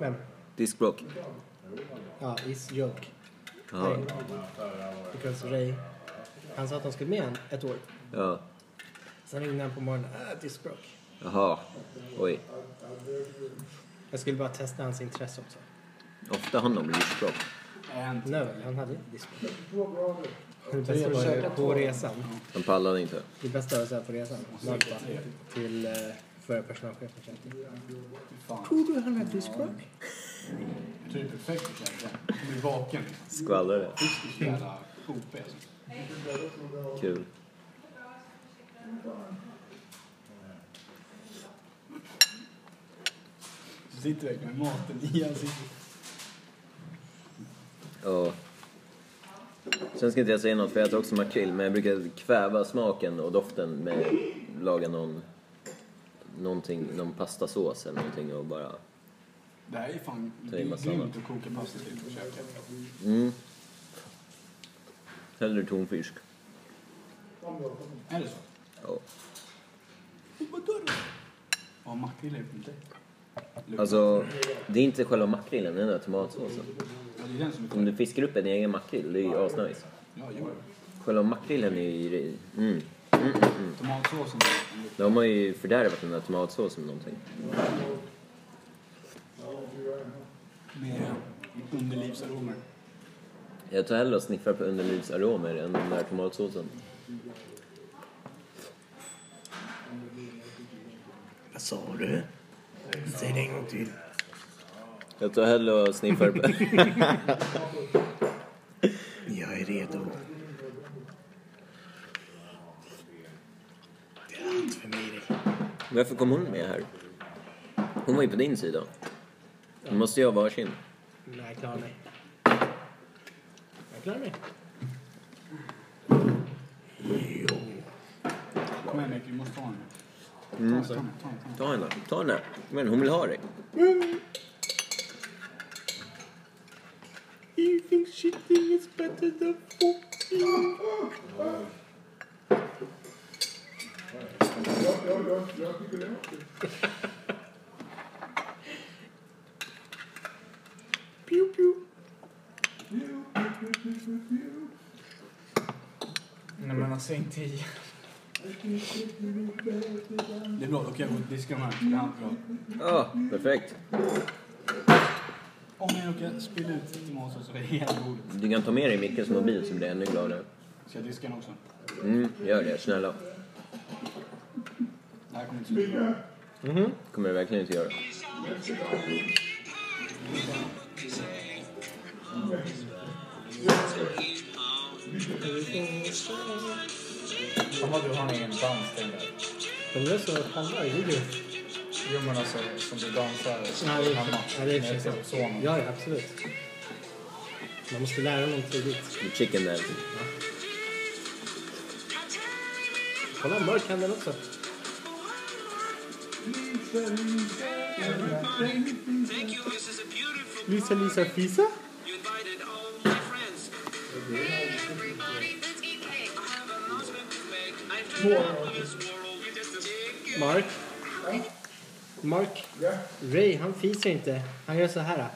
Vem? Diskbråck. Ja, it's joke. Ja. Because Ray. Han sa att han skulle med han ett år. Ja. Sen ringde han på morgonen. Ah, diskbråck. Jaha. Oj. Jag skulle bara testa hans intresse också. Ofta handlar det om diskbråck. Nej, han hade inte diskbråck. Det bästa var på resan. Han pallade inte. Det bästa var så här på resan. Magda till eh, förra personalchefen. sa till. Tror du han har diskbråck? Jag tror det är Typ perfekt för känslan. Du är vaken. Skvallrade. Det är så jävla OP alltså. Kul. Sitter verkligen med maten i ansiktet. Ja. Sen ska inte jag säga något för jag äter också makrill men jag brukar kväva smaken och doften med att laga någon, någonting, någon pastasås eller någonting och bara... Det här är fan Ta i massa grymt att koka pasta till och käka. Mm. Hellre tonfisk. Är det så? Ja. Ja, makrill är ju inte. Alltså, det är inte själva makrillen, det är den där tomatsåsen. Ja, det känns som ett... Om du fiskar upp en egen makrill, det är ju asnice. Ja, jo. Själva makrillen är ju... Mm. Tomatsåsen är en lukt. De har ju fördärvat den där tomatsåsen med någonting. med underlivsaromer. Jag tar hellre och sniffar på underlivsaromer än den där tomatsåsen. Vad sa du? Säg det en gång till. Jag tar hellre och sniffar på... Jag är redo. Det är allt för mig det. Varför kom hon med här? Hon var ju på din sida. Då måste jag ha varsin. Nej, jag klarar mig. Jag klarar mig. Kom igen Nick, vi måste ta en. Ta en, ta en, ta en. Ta henne. Ta henne. Men hon vill ha dig. You think shitting is better than fucking... Pew pew. Nej men alltså inte i... Det är bra, då kan jag gå och diska de här. Det är allt bra. Ja, perfekt. Om jag råkar spilla ut tomatsås över hela bordet. Du kan ta med dig Mickes mobil så blir jag ännu gladare. Ska jag diska den också? Mm, gör det. Snälla. Det här kommer inte Oh, sluta. kommer jag verkligen inte göra. Fan vad du har en egen dansställ där. Men det är så att alla är ju... Jo men alltså som du dansar Nej, det är hemma. Ja, det liksom När är jag ser på sonen. Ja, ja, absolut. Man måste lära dem tidigt. The chicken dance. Kolla, mörk händer också. Thank you, this is a beautiful... Lisa, Lisa, Fisa. You invited all my friends. I have an announcement to make. I do not love this world. You just take it. Mark. Mark. Ray, han fiser inte. Han gör så här.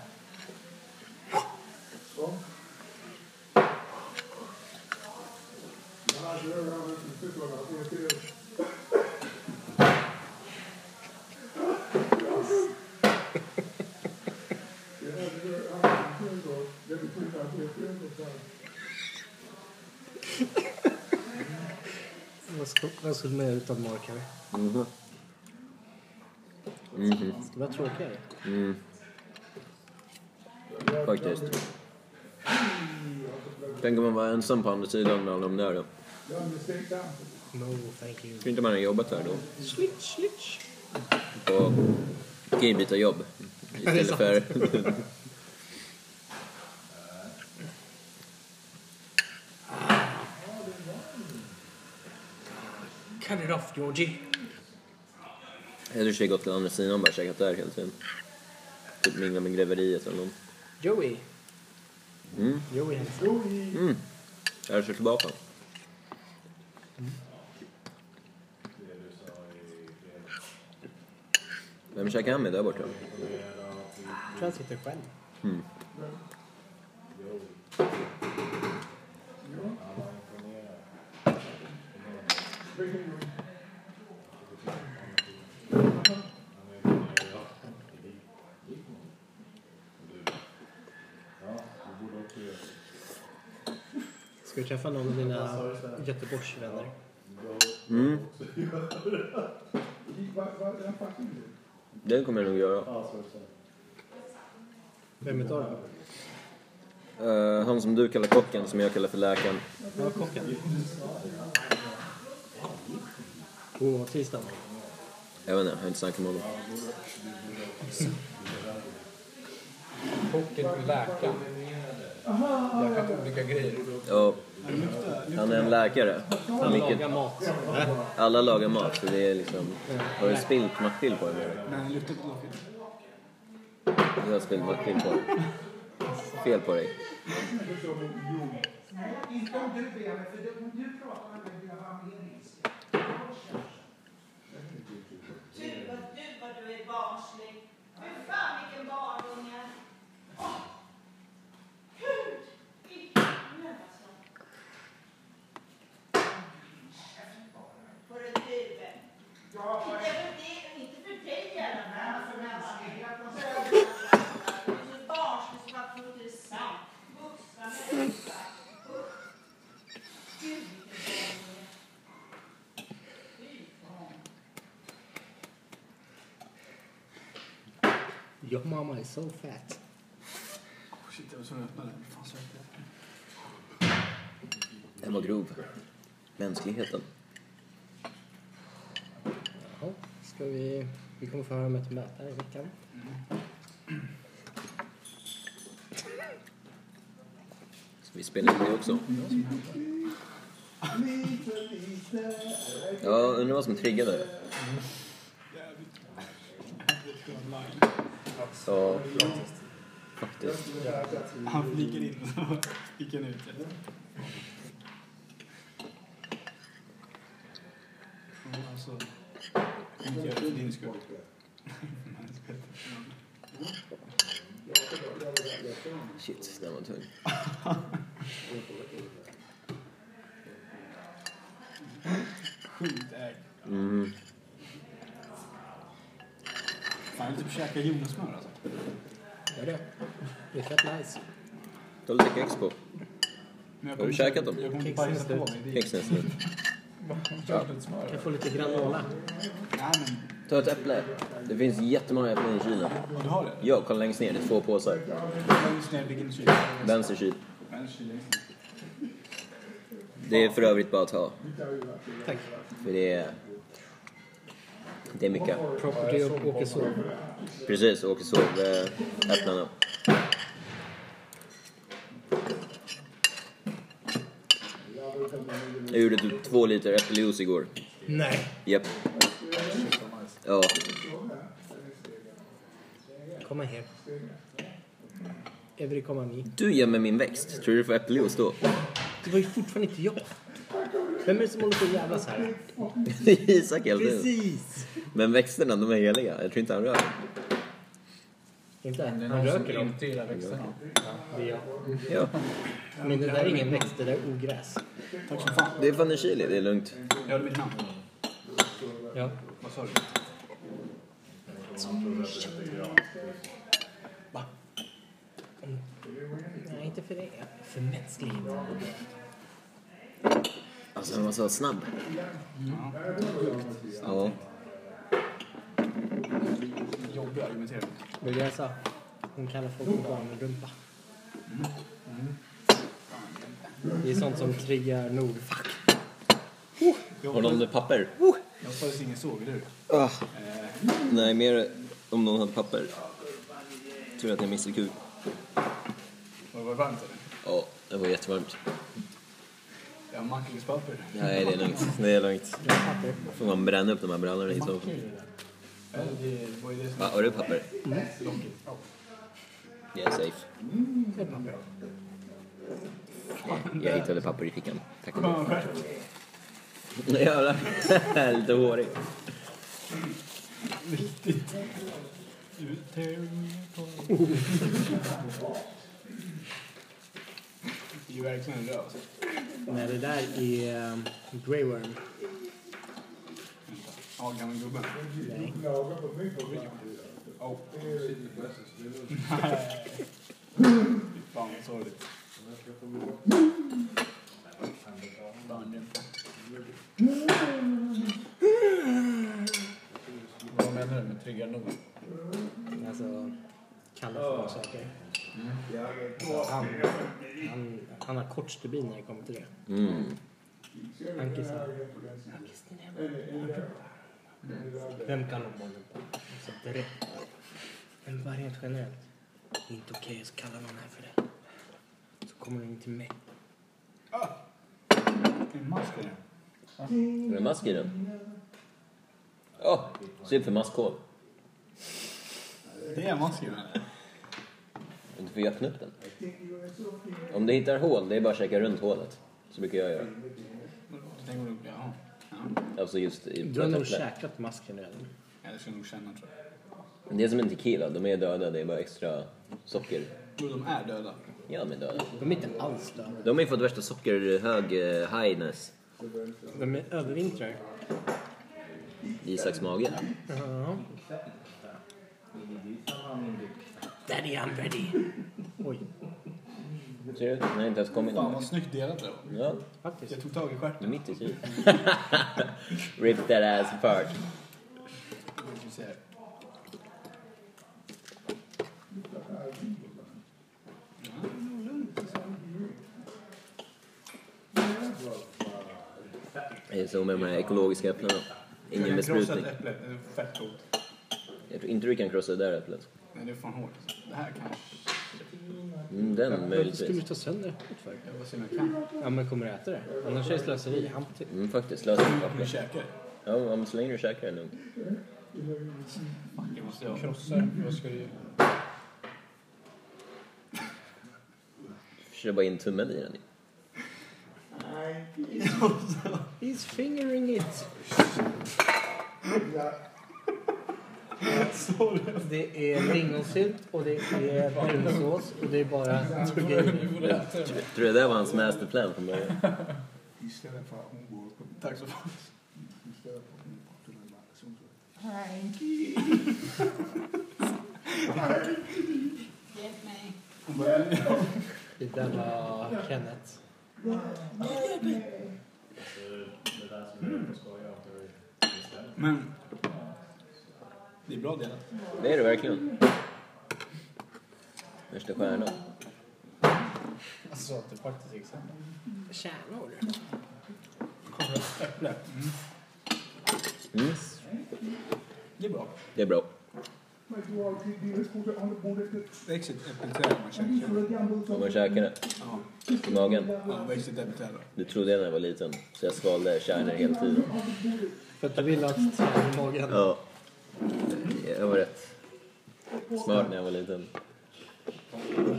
Vad sk- Vad skulle man göra utan Mark här? Ska vara tråkigare? Faktiskt. Tänk om man var ensam på andra sidan med alla de där då. No, thank you. Tror inte man har jobbat här då. På kan byta jobb. Istället för... Cut it off, Georgie. Jag tror jag gått till andra sidan och bara käkat där hela tiden. Typ mingla med greveriet eller någon. Joey. Mm. Joey Henson. Mm. Jag kör tillbaka. Vem käkar han med där borta? Jag tror han sitter själv. Ska du träffa någon av dina Göteborgsvänner? Mm. Det kommer jag nog göra. Vem utav dem? Eh, han som du kallar kocken, som jag kallar för läkaren. Ja, kocken. På tisdagen? Jag vet inte, jag har inte snackat med honom. chocken på läkaren. Läkaren på olika grejer. Ja. Han är en läkare. Han Vilket- lagar mat. alla lagar mat så det är liksom... Har du spillt makrill på den? Nej, han luktar inte något fint. Du har spillt makrill på den. Fel på dig. Gud vad du är barnslig. Fy fan vilken barnunge. Åh, Gud, vilken alltså. Hörru du. Inte för det, inte för dig i alla fall. alltså, men vad- Du är så barnslig som man tror det är sant. Vuxna människa. Usch. Gud vilken barnunge. Fy fan. Your mama is so fat. Shit, jag var tvungen att öppna den. Fan, så äckligt. Den var grov. Mänskligheten. Jaha, ska vi... Vi kommer få höra om ett möte här i veckan. Ska vi spela in det också? Ja, undrar vad som triggade det. Ja, faktiskt. Han flikar in och så gick han ut. Ja, alltså. Inte gör det för din skull. Shit, den var tung. Sjukt ägg. Mm. Fan, jag vill typ käka jordnötssmör alltså. Gör det. Det är fett nice. Då lägger jag kex på. Men jag Har du kommer- käkat dem? Jag kommer inte Kexen är bajsa på slut. mig. Det är- Kexen är slut. Kan jag få lite granola? Nej, Ta ett äpple. Det finns jättemånga äpplen i kylen. men du har det? Ja, kolla längst ner. Det är två påsar. Längst ner, vilken kyl? Vänster kyl. Vänster kyl, längst ner. Det är för övrigt bara att ha. Tack. För det är... Det är mycket. Property och åker så. Precis, åker sov. eh, Äpplena. Jag gjorde typ två liter äppeljuice igår. Nej. Japp. Ja, Komma här. Every komma ni. du ger mig min växt. Tror du du får äppeljuice då? Det var ju fortfarande inte jag. Vem är det som håller på och jävlas här? Det är Isak hela tiden. Precis! Men växterna, de är heliga. Jag tror inte han rör. Inte? Det Han är någon som röker dem. inte gillar växterna. Det är jag. Ja. Men det där är ingen växt, det där är ogräs. Tack så fan. Det är fan en chili, det är lugnt. Jag hörde mitt namn. Ja. Vad sa du? Mm. Nej, inte för det. För mänskligheten. Alltså han var så snabb. Ja. Jobbig argumentering. Men jag sa, hon kallar folk för barnrumpa. Det är sånt som triggar Nordfack. Jag Har hoppades- någon papper? jag hoppades ingen såg, eller hur? Ah. Nej, mer om någon hade papper. Tur att jag missade kul. Var det varmt eller? Ja, det var jättevarmt. Jag har macklingspapper. Nej, det är lugnt. Det är lugnt. Får man bränna upp de här brallorna i så fall. Ja, Det var ju det som... Va, har du papper? Mm. Jag är safe. Nej, jag hittade papper i fickan. Tack. Fan, skärp dig. Jävlar. Lite hårig. Riktigt. You tear me apart. Det är ju verkligen en röv. alltså. Nej, det där är um, Grey Worm. Ja, gamla gubben. Nej. Oh. Fy Fan vad sorgligt. Barnrumpa. Vad menar du med triggar nog? Alltså, kallar för saker. Alltså, Han, han, han har kort stubin när det kommer till det. Mm. Ankis här. Vem kan om barnrumpa? Alltså direkt. En variant generellt. Det är inte okej, så kallar någon här för det. Så kommer de in till mig. Det är en mask i den. Är det mask i den? Ja, synd för maskhål. Det är en mask i den. Du får ju öppna upp den. Om du hittar hål, det är bara att käka runt hålet. Så brukar jag göra. Då tänker man upp, ja. ja. Alltså just i Du har nog toaletten. käkat masken redan. Ja, det ska jag nog känna tror jag. Men Det är som en tequila, de är döda, det är bara extra socker. Jo, de är döda. Ja, de är döda. De är inte alls döda. De har ju fått värsta sockerhög eh, highness De är övervintrar. i Isaks mage. Daddy, I'm ready. Oj, Ser du? Den har inte ens kommit Fan någon. vad snyggt delat det var. Ja, faktiskt. Jag tog tag i det stjärten. är mitt i sig. Rip that ass apart. Vi får se här. Det är så med de här ekologiska äpplena. Ingen Jag kan krossa besprutning. ett äpple. Det är fett gott. Jag tror inte du kan krossa det där äpplet. Nej, det är fan hårt. Det här kanske... Mm, den Varför skulle du möjligtvis. ta sönder äpplet för? Jag får se om jag kan. Ja, men kommer du äta det? Annars är det slöseri. Hamti. Mm, faktiskt. Lös den Nu papper. käkar jag. Ja, om så länge du käkar den nog. Det måste jag. Krossar. Vad ska du göra? Kör bara in tummen i den. He's fingering it. Det är lingonsylt och det är brunsås och det är bara grejer. Jag tror det där var hans master plan från början. Istället för att hon går upp Mm, Tack så fan. istället för att hon går upp till den där personen. Det där var Kenneth. Men... Det är bra delat. Det är det verkligen. Värsta stjärnan. Alltså, det är faktiskt exempel. Kärnor. Äpple. Mm, Det är bra. det är bra. Växer ett äppelträd man Mm. käkar. Om man käkar det. I magen. Ja, växer ett äppelträd. Du trodde jag när jag var liten. Så jag svalde kärnor hela tiden. För att du vill ha ett tärn i magen. Ja. Jag var rätt smart när jag var liten.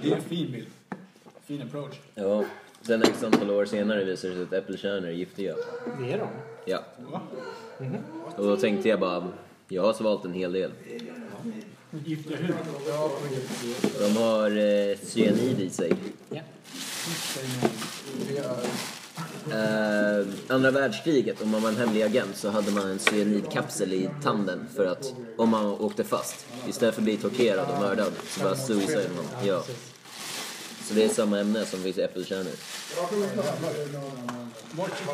Det är en fin bild. Fin approach. Ja. Sen x antal år senare visade det sig att äppelkärnor är giftiga. Det är de. Ja. Och då tänkte jag bara, jag har svalt en hel del. Giftiga hud. De har eh, cyanid i sig. Ja. Eh, andra världskriget, om man var en hemlig agent, så hade man en cyanidkapsel i tanden för att om man åkte fast, istället för att bli torterad och mördad, så bara suicide man. Ja. precis. Så det är samma ämne som finns i äppelkärnor.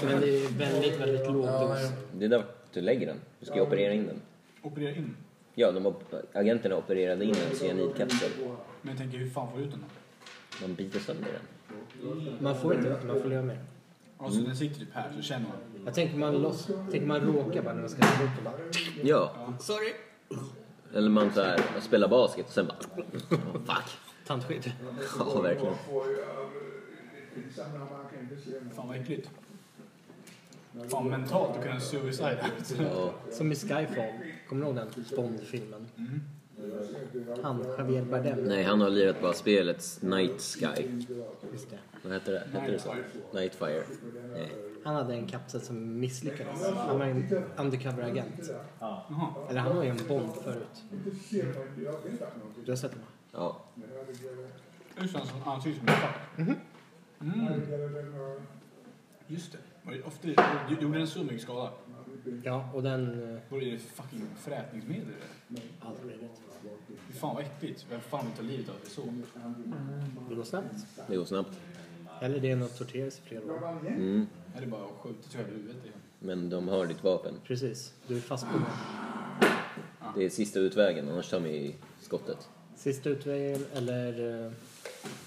Men det är väldigt, väldigt låg dos. Det är där du lägger den. Du ska ju operera in den. Operera in. Ja, de op- agenterna opererade in en cyanidkapsel. Men jag tänker, hur fan får jag ut den då? Man biter sönder den. Man får inte veta, man får leva med det. Alltså, den sitter typ här, så känner man. Jag tänker man loss, tänker man råkar bara när man ska ta bort den bara. Ja, Sorry. eller man så här, man spelar basket och sen bara... Fuck! Tandskydd. Ja, verkligen. Fan vad äckligt. Fan mentalt att kunna suicida. Ja. Som i Skyfall. Kommer du ihåg den Bond-filmen? Han, Javier Bardem. Nej, han har lirat bara spelet Night Sky. Just det. Vad heter det? Heter det så? Nightfire. Nej. Han hade en kapsel som misslyckades. Han var en undercover-agent. Jaha. Eller han var ju en Bond förut. Du har sett honom? Ja. Det känns som han ser ut som en fuck. Mm. Just det. Var det Ofta, gjorde den så mycket skada? Ja, och den... eh, Var det fucking frätningsmedel eller? Aldrig rätt. Fy Fan vad äckligt. Vem fan vill ta livet av sig så? Det går snabbt. Det går snabbt. Eller det är nog torteras i flera år. Mm. Är det bara att skjuta sig själv i huvudet igen? Men de har ditt vapen. Precis. Du är fast på den. Det är sista utvägen, annars tar de ju skottet. Sista utvägen eller eh,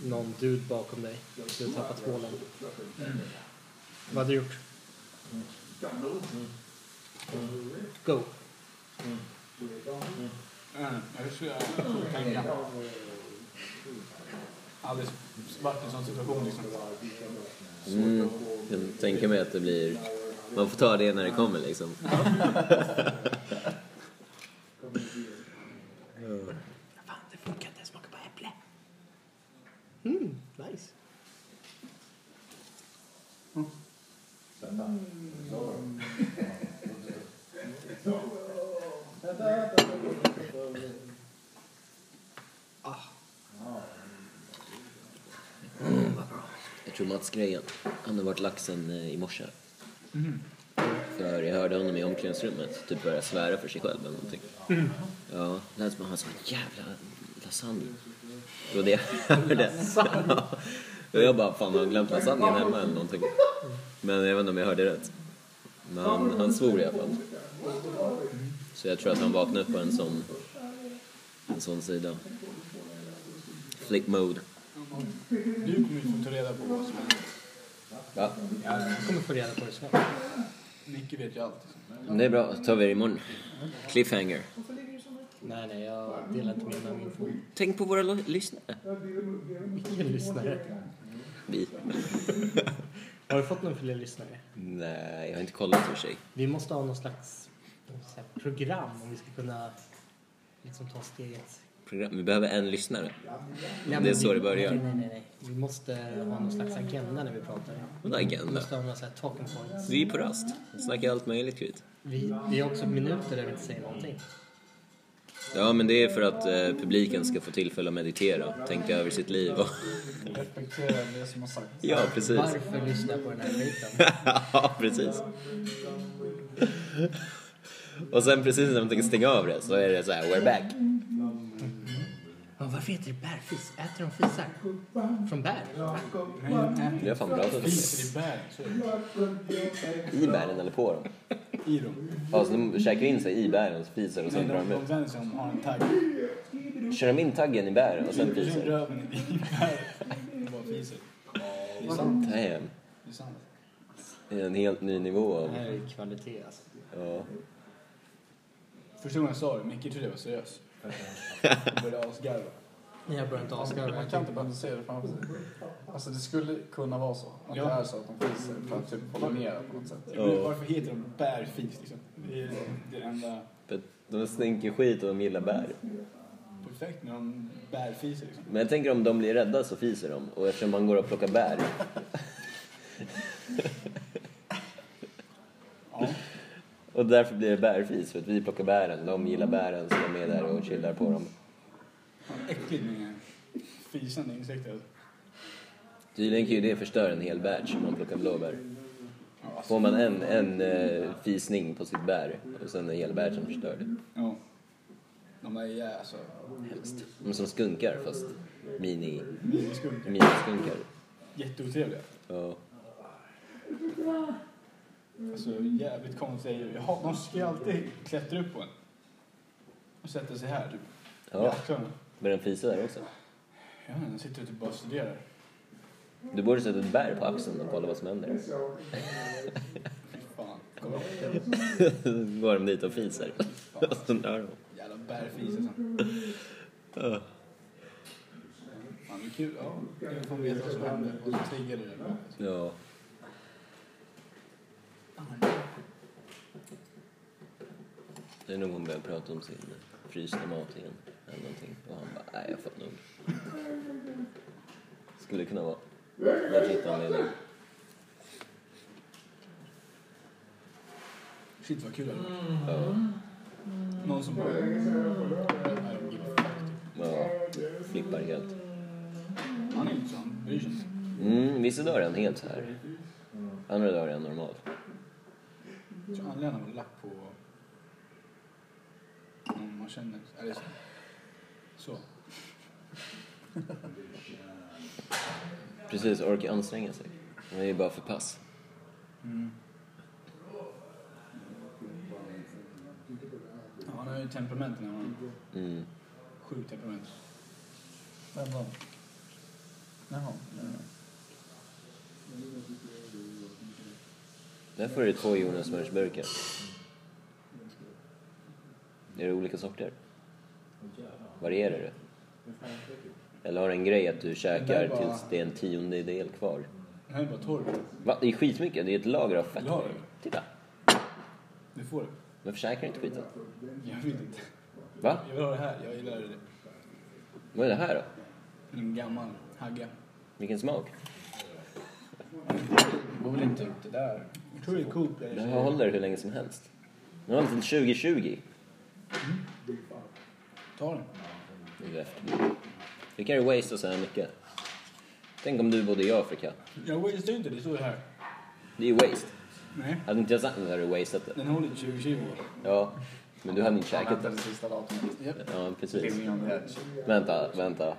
någon dude bakom dig. Du har tappat tvålen. Vad hade du gjort? Go. Mm. Jag ska skjuta en aldrig varit i en sån situation liksom. Mm, jag kan tänka mig att det blir... Man får ta det när det kommer liksom. Fan, det funkar inte. Jag smakar på äpple. Mm, nice. Jag tror Mats Grejen, han har varit laxen eh, i morse. För jag hörde honom i omklädningsrummet typ börja svära för sig själv eller någonting. Ja, det lät som att han sa jävla lasagne. Det var det jag hörde. Ja. Och jag bara, fan har han glömt lasagnen hemma eller någonting? Men jag vet inte om jag hörde rätt. Men han, han svor i alla fall. Så jag tror att han vaknade upp på en sån, en sån sida. Flick mode. Du kommer ju få ta reda på vad som händer. Ja. Jag kommer få reda på det snart. Nicke vet ju allt. Det är bra, då tar vi det imorgon. Cliffhanger. Nej, nej, jag delar inte med mig av min info. Tänk på våra lo- lyssnare. Vilken lyssnare? Vi. Har du fått någon fler lyssnare? Nej, jag har inte kollat i och för sig. Vi måste ha någon slags så här, program om vi ska kunna liksom, ta steget. Program. Vi behöver en lyssnare. Nej, Det är men så vi, det börjar. Nej, nej, nej, nej. Vi måste ha någon slags agenda när vi pratar. Vadå Vi agenda? måste ha några så här talking points. Vi är på rast. Snackar allt möjligt skit. Vi, vi har också minuter där vi inte säger någonting. Ja, men det är för att eh, publiken ska få tillfälle att meditera, tänka över sitt liv och... Reflektera över det som har sagts. Ja, precis. Varför lyssna på den här skiten? ja, precis. och sen precis när de tänker stänga av det så är det så här, we're back. Ja, varför heter det bärfis? Äter de fisar? Från bär? Det är fan bra att Fiser i bär, så är det. I bären eller på dem? I dem. Ja, så de käkar in sig i bären, spiser och Nej, sen drar de, de de ut. vänder sig om och har en tagg. Kör de in taggen i bären och sen Sen fiser? röven i bär. De bara fiser. Det är sant. Damn. Det är sant. Det är en helt ny nivå Det av... här är ju kvalitet alltså. Ja. Första gången jag sa det, Micke trodde jag var seriös. Jag började asgarva. Jag börjar inte Man kan avskarva. inte bara se det framför sig. Alltså det skulle kunna vara så. Att Ja. det är så att de fiser för att typ pollinera på något sätt. Jag vet inte Varför heter de bärfis liksom? Det är det enda För att de stinker skit och de gillar bär. perfekt när de bärfiser liksom. Men jag tänker om de blir rädda så fiser de. Och eftersom man går och plockar bär. Ja. Och därför blir det bärfis. För att vi plockar bären. De gillar bären så de är där och chillar på dem. Fan, Äckligt med fisande insekter. alltså. Tydligen kan ju det förstöra en hel batch om man plockar blåbär. Ja, alltså. Får man en, en eh, fisning på sitt bär och sen är hela batchen förstörd. Ja. De där är alltså Hemskt. De är som skunkar fast mini, miniskunkar. miniskunkar. Jätteotrevliga. Ja. Alltså jävligt konstiga djur. Jag hatar- De ska ju alltid klättra upp på en. Och sätta sig här typ. ja. Jakthörnen. Börjar den fisa där också? Ja, den sitter och typ bara och studerar. Du borde sätta ett bär på axeln och kolla vad som händer. Fy Fan, kolla. går de dit och fiser. Och så dör de. Jävla bärfis alltså. Ja. Fan, det är kul. Ja, nu får vi veta vad som hände. Och så triggade det. där. Ja. Det är nog hon börjar prata om sin frysta mat igen. Eller någonting. Och han bara, nej jag har fått nog. Skulle kunna vara legit anledning. Shit vad kul det hade varit. Ja. Någon som bara... I don't give a fuck, typ. ja. Flippar helt. Han är inte så, han bryr sig inte. Mm, vissa dagar är han helt så här. Andra dagar är han normal. Jag tror anledningen var lack på någon man känner. Eller så. Så. Precis, orkar anstränga sig. Han är ju bara för pass. Mm. Ja, han har ju temperament när han Mm. Sjukt temperament. Vem då? Jaha. Där får du två jordnötssmörsburkar. Är det olika sorter? Varierar det? Eller har du en grej att du käkar där bara- tills det är en tiondel kvar? Det här är bara torv. Va? Det är skitmycket, det är ett lager av fett. Lager? Titta! Du får det. Men försäkrar inte skiten? Jag vill inte. Va? Jag vill ha det här. Jag gillar det. Vad är det här då? En gammal hagga. Vilken smak? Går väl inte ut det där. Jag tror det är Coop. där. Det här håller hur länge som helst. Nu har vi till 2020. Ta den. Det är ju efter. Vi kan ju wastea så här mycket. Tänk om du bodde i Afrika. Jag wastear ju inte. Det står ju här. Det är ju waste. Nej. Hade inte jag sagt det så hade du wasteat det. Den håller 2020. Ja, men du hade inte käkat Vänta det. det sista datumet. Japp. Typ. Ja, precis. Living on the edge. Vänta, vänta.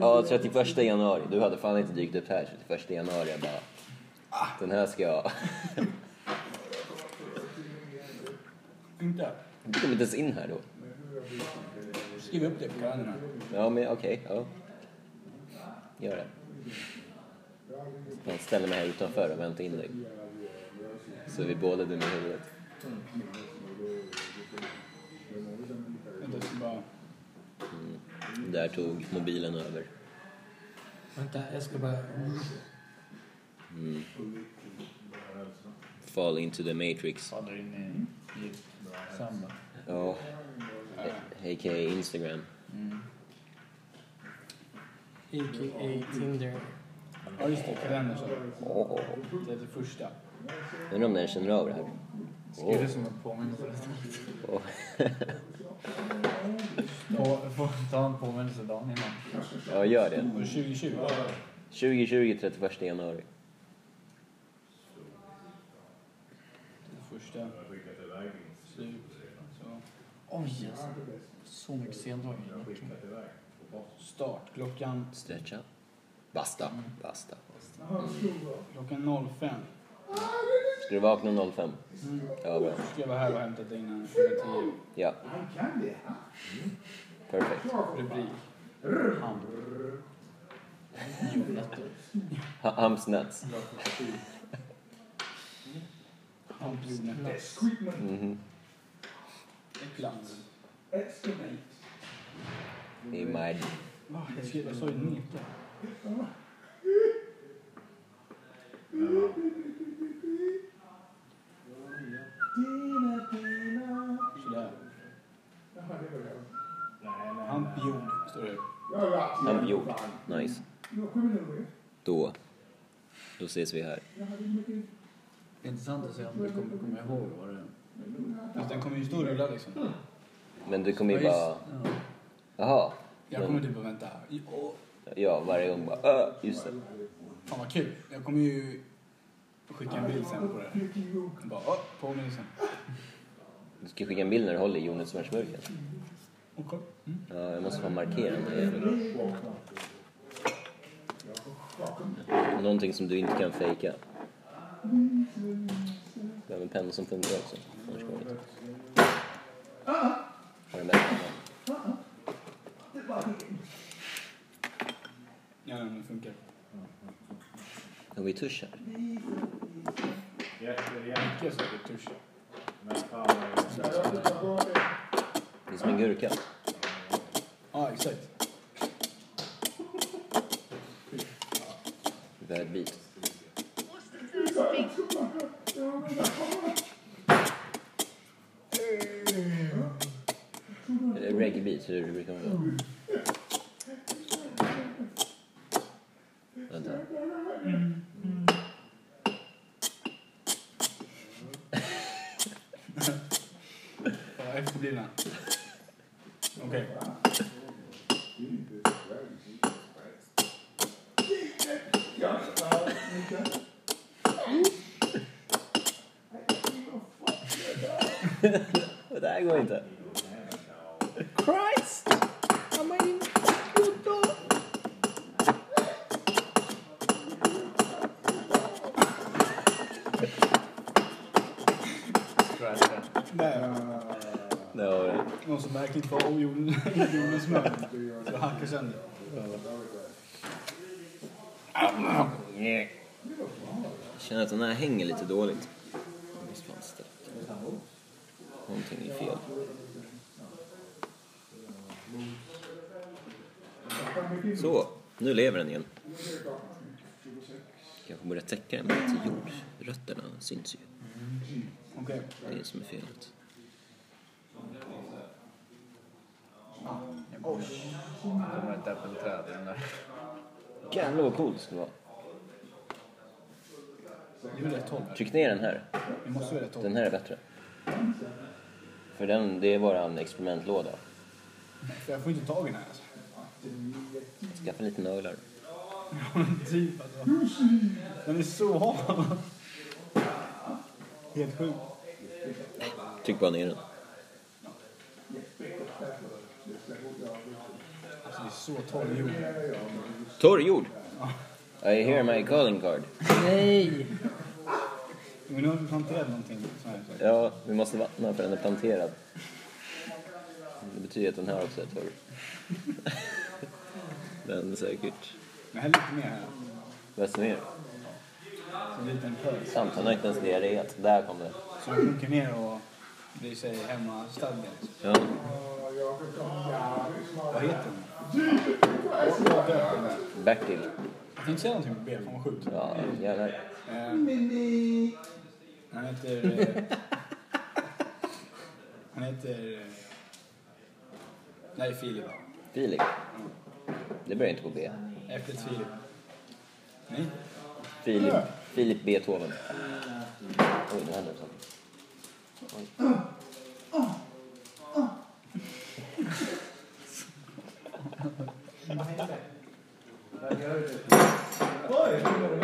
Ja, 31 januari. Du hade fan inte dykt upp här 31 januari. Jag bara, den här ska jag... Inte. Du kom inte ens in här då. Skriv upp det på kalendern. Ja, men okej. ja. Gör det. Jag ställer mig här utanför och väntar in dig. Så vi båda dumma i huvudet. Vänta, jag ska bara... Där tog mobilen över. Vänta, jag ska bara... Fall into the matrix. Faller in Mm. i sanden. Ja. A- A.k.a. Instagram. A.k.a. Tinder. Ja, just det. Kalendern så. Det är det första. Undrar om den känner av det här. Skriv det som en påminnelse. Åh. Ta, får ta en påminnelse dagen innan. Ja, gör det. Var det 2020? 2020, 31 januari. Det första. Slut. Så. Oj, alltså. Så mycket sendragning. verkligen. Start. Klockan... Stretcha. Basta. Basta. Klockan 05. Ska du vakna 05? Ja, bra. Ska jag vara här och hämta dig innan klockan 10. Ja. Perfekt. Rubrik. Ha- Hamsnats. Mm-hmm. Hampjordnötter. Mhm. Äcklans. I my... Va? Jag skrev- Jag sa ju neka. Sådär. Hampion, står det. Hamnjord. Nice. Då. Då ses vi här. Intressant att se om du kommer komma ihåg vad det... Fast den kommer ju stå och rulla liksom. Men du kommer ju Ja, bara... just- Jaha. Jag kommer typ att vänta. I- Åh, Ja, varje gång bara... "Ö, Just det. Fan vad kul. Jag kommer ju skicka en bild sen på det här. Bara, åh, påminnelsen. Du ska skicka en bild när du håller i jordnötssmörsmurken. Okej. Mm. Ja, jag måste fan markera det. Någonting som du inte kan fejka. Jag har en penna som funkar också. Annars går det inte. Har du med pennan? Ja, den funkar. Har vi tusch här? Mycket säkert tusch. Det är som en gurka. Ja, exakt. Värdbit. Eller Reggae-beat, hur brukar man göra? Vänta. Ja, efterblivna. Okej. Det där går inte. Där. Det var det. eh, Någon som märkligt var omgjord jorden smör. Så det hackar sönder. Jag känner att den här hänger lite dåligt. Jag måste fan sträcka. Någonting är fel. Så, nu lever den igen. Kanske borde täcka den med lite jord. Rötterna syns ju. Okej. Det är det som är felet. Det var ett äppelträd i den där. Jävlar vad coolt det skulle vara. Det är väl rätt håll? Tryck ner den här. Det måste vara rätt håll. Den här är bättre. För den, det är våran experimentlåda. För jag får inte tag i den här alltså. Skaffa lite nölar. typ alltså. Den är så hal. Helt sjuk. Tryck bara ner den. Alltså det är så torr jord. Torr jord! I hear my calling card. Nej! Men nu har vi planterat någonting. Så här, så här. Ja, vi måste vattna för den är planterad. Det betyder att den här också är torr. den är säkert. Men häll lite mer här. Vad som är Så en liten pös. Sant, han har inte ens diarréat. Där kom det. Så den sjunker ner och blir sig hemmastadgad. Ja. Vad heter den? Vad- vad döper den där? Bertil. Jag tänkte säga någonting med B, fan vad sjukt. Ja, gärna. Eh, Han heter... eh, Han heter... eh, Nej, Filip. Filip. Det börjar inte på B. Äpplet Filip. Nej. Filip, Filip Beethoven. Oj, nu hände det sånt. Oj. Aggression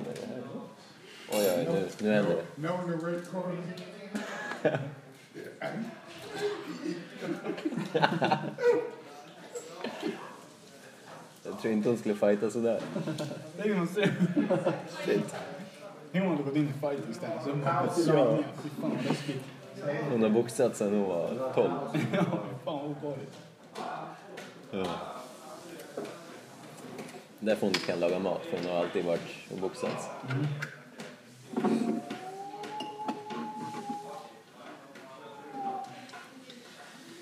är det här. Oj, oj, nu, nu händer det. No, no red card. Jag tror inte hon skulle fighta sådär. Tänk om hon ser... Shit. Tänk om hon hade gått in i fighting style. Så hon bara svängde. Fy fan vad läskigt. Hon har boxat sedan hon var 12. Ja, fan vad obehagligt. Därför hon inte kan laga mat, för hon har alltid varit och boxats.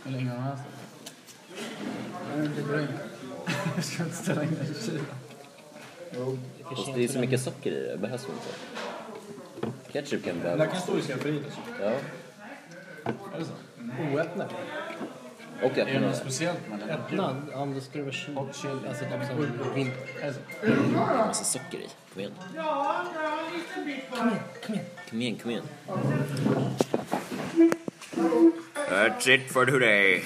Hur länge har hon haft den? Den blir bränd. Jag ska inte ställa in den i kylen. Jo. Och det är så mycket socker i det, det behövs inte. Ketchup kan Den där behöva. kan stå i skafferiet alltså. Ja. Är det så? Oöppnad. Och Är det något att speciellt med den? Öppnad? Ja, men då skulle det vara kyl. Hot chill. Alltså typ som alltså, vinter. Är det så? man har massa socker i. Kom igen. Kom igen, kom igen. That's it for today.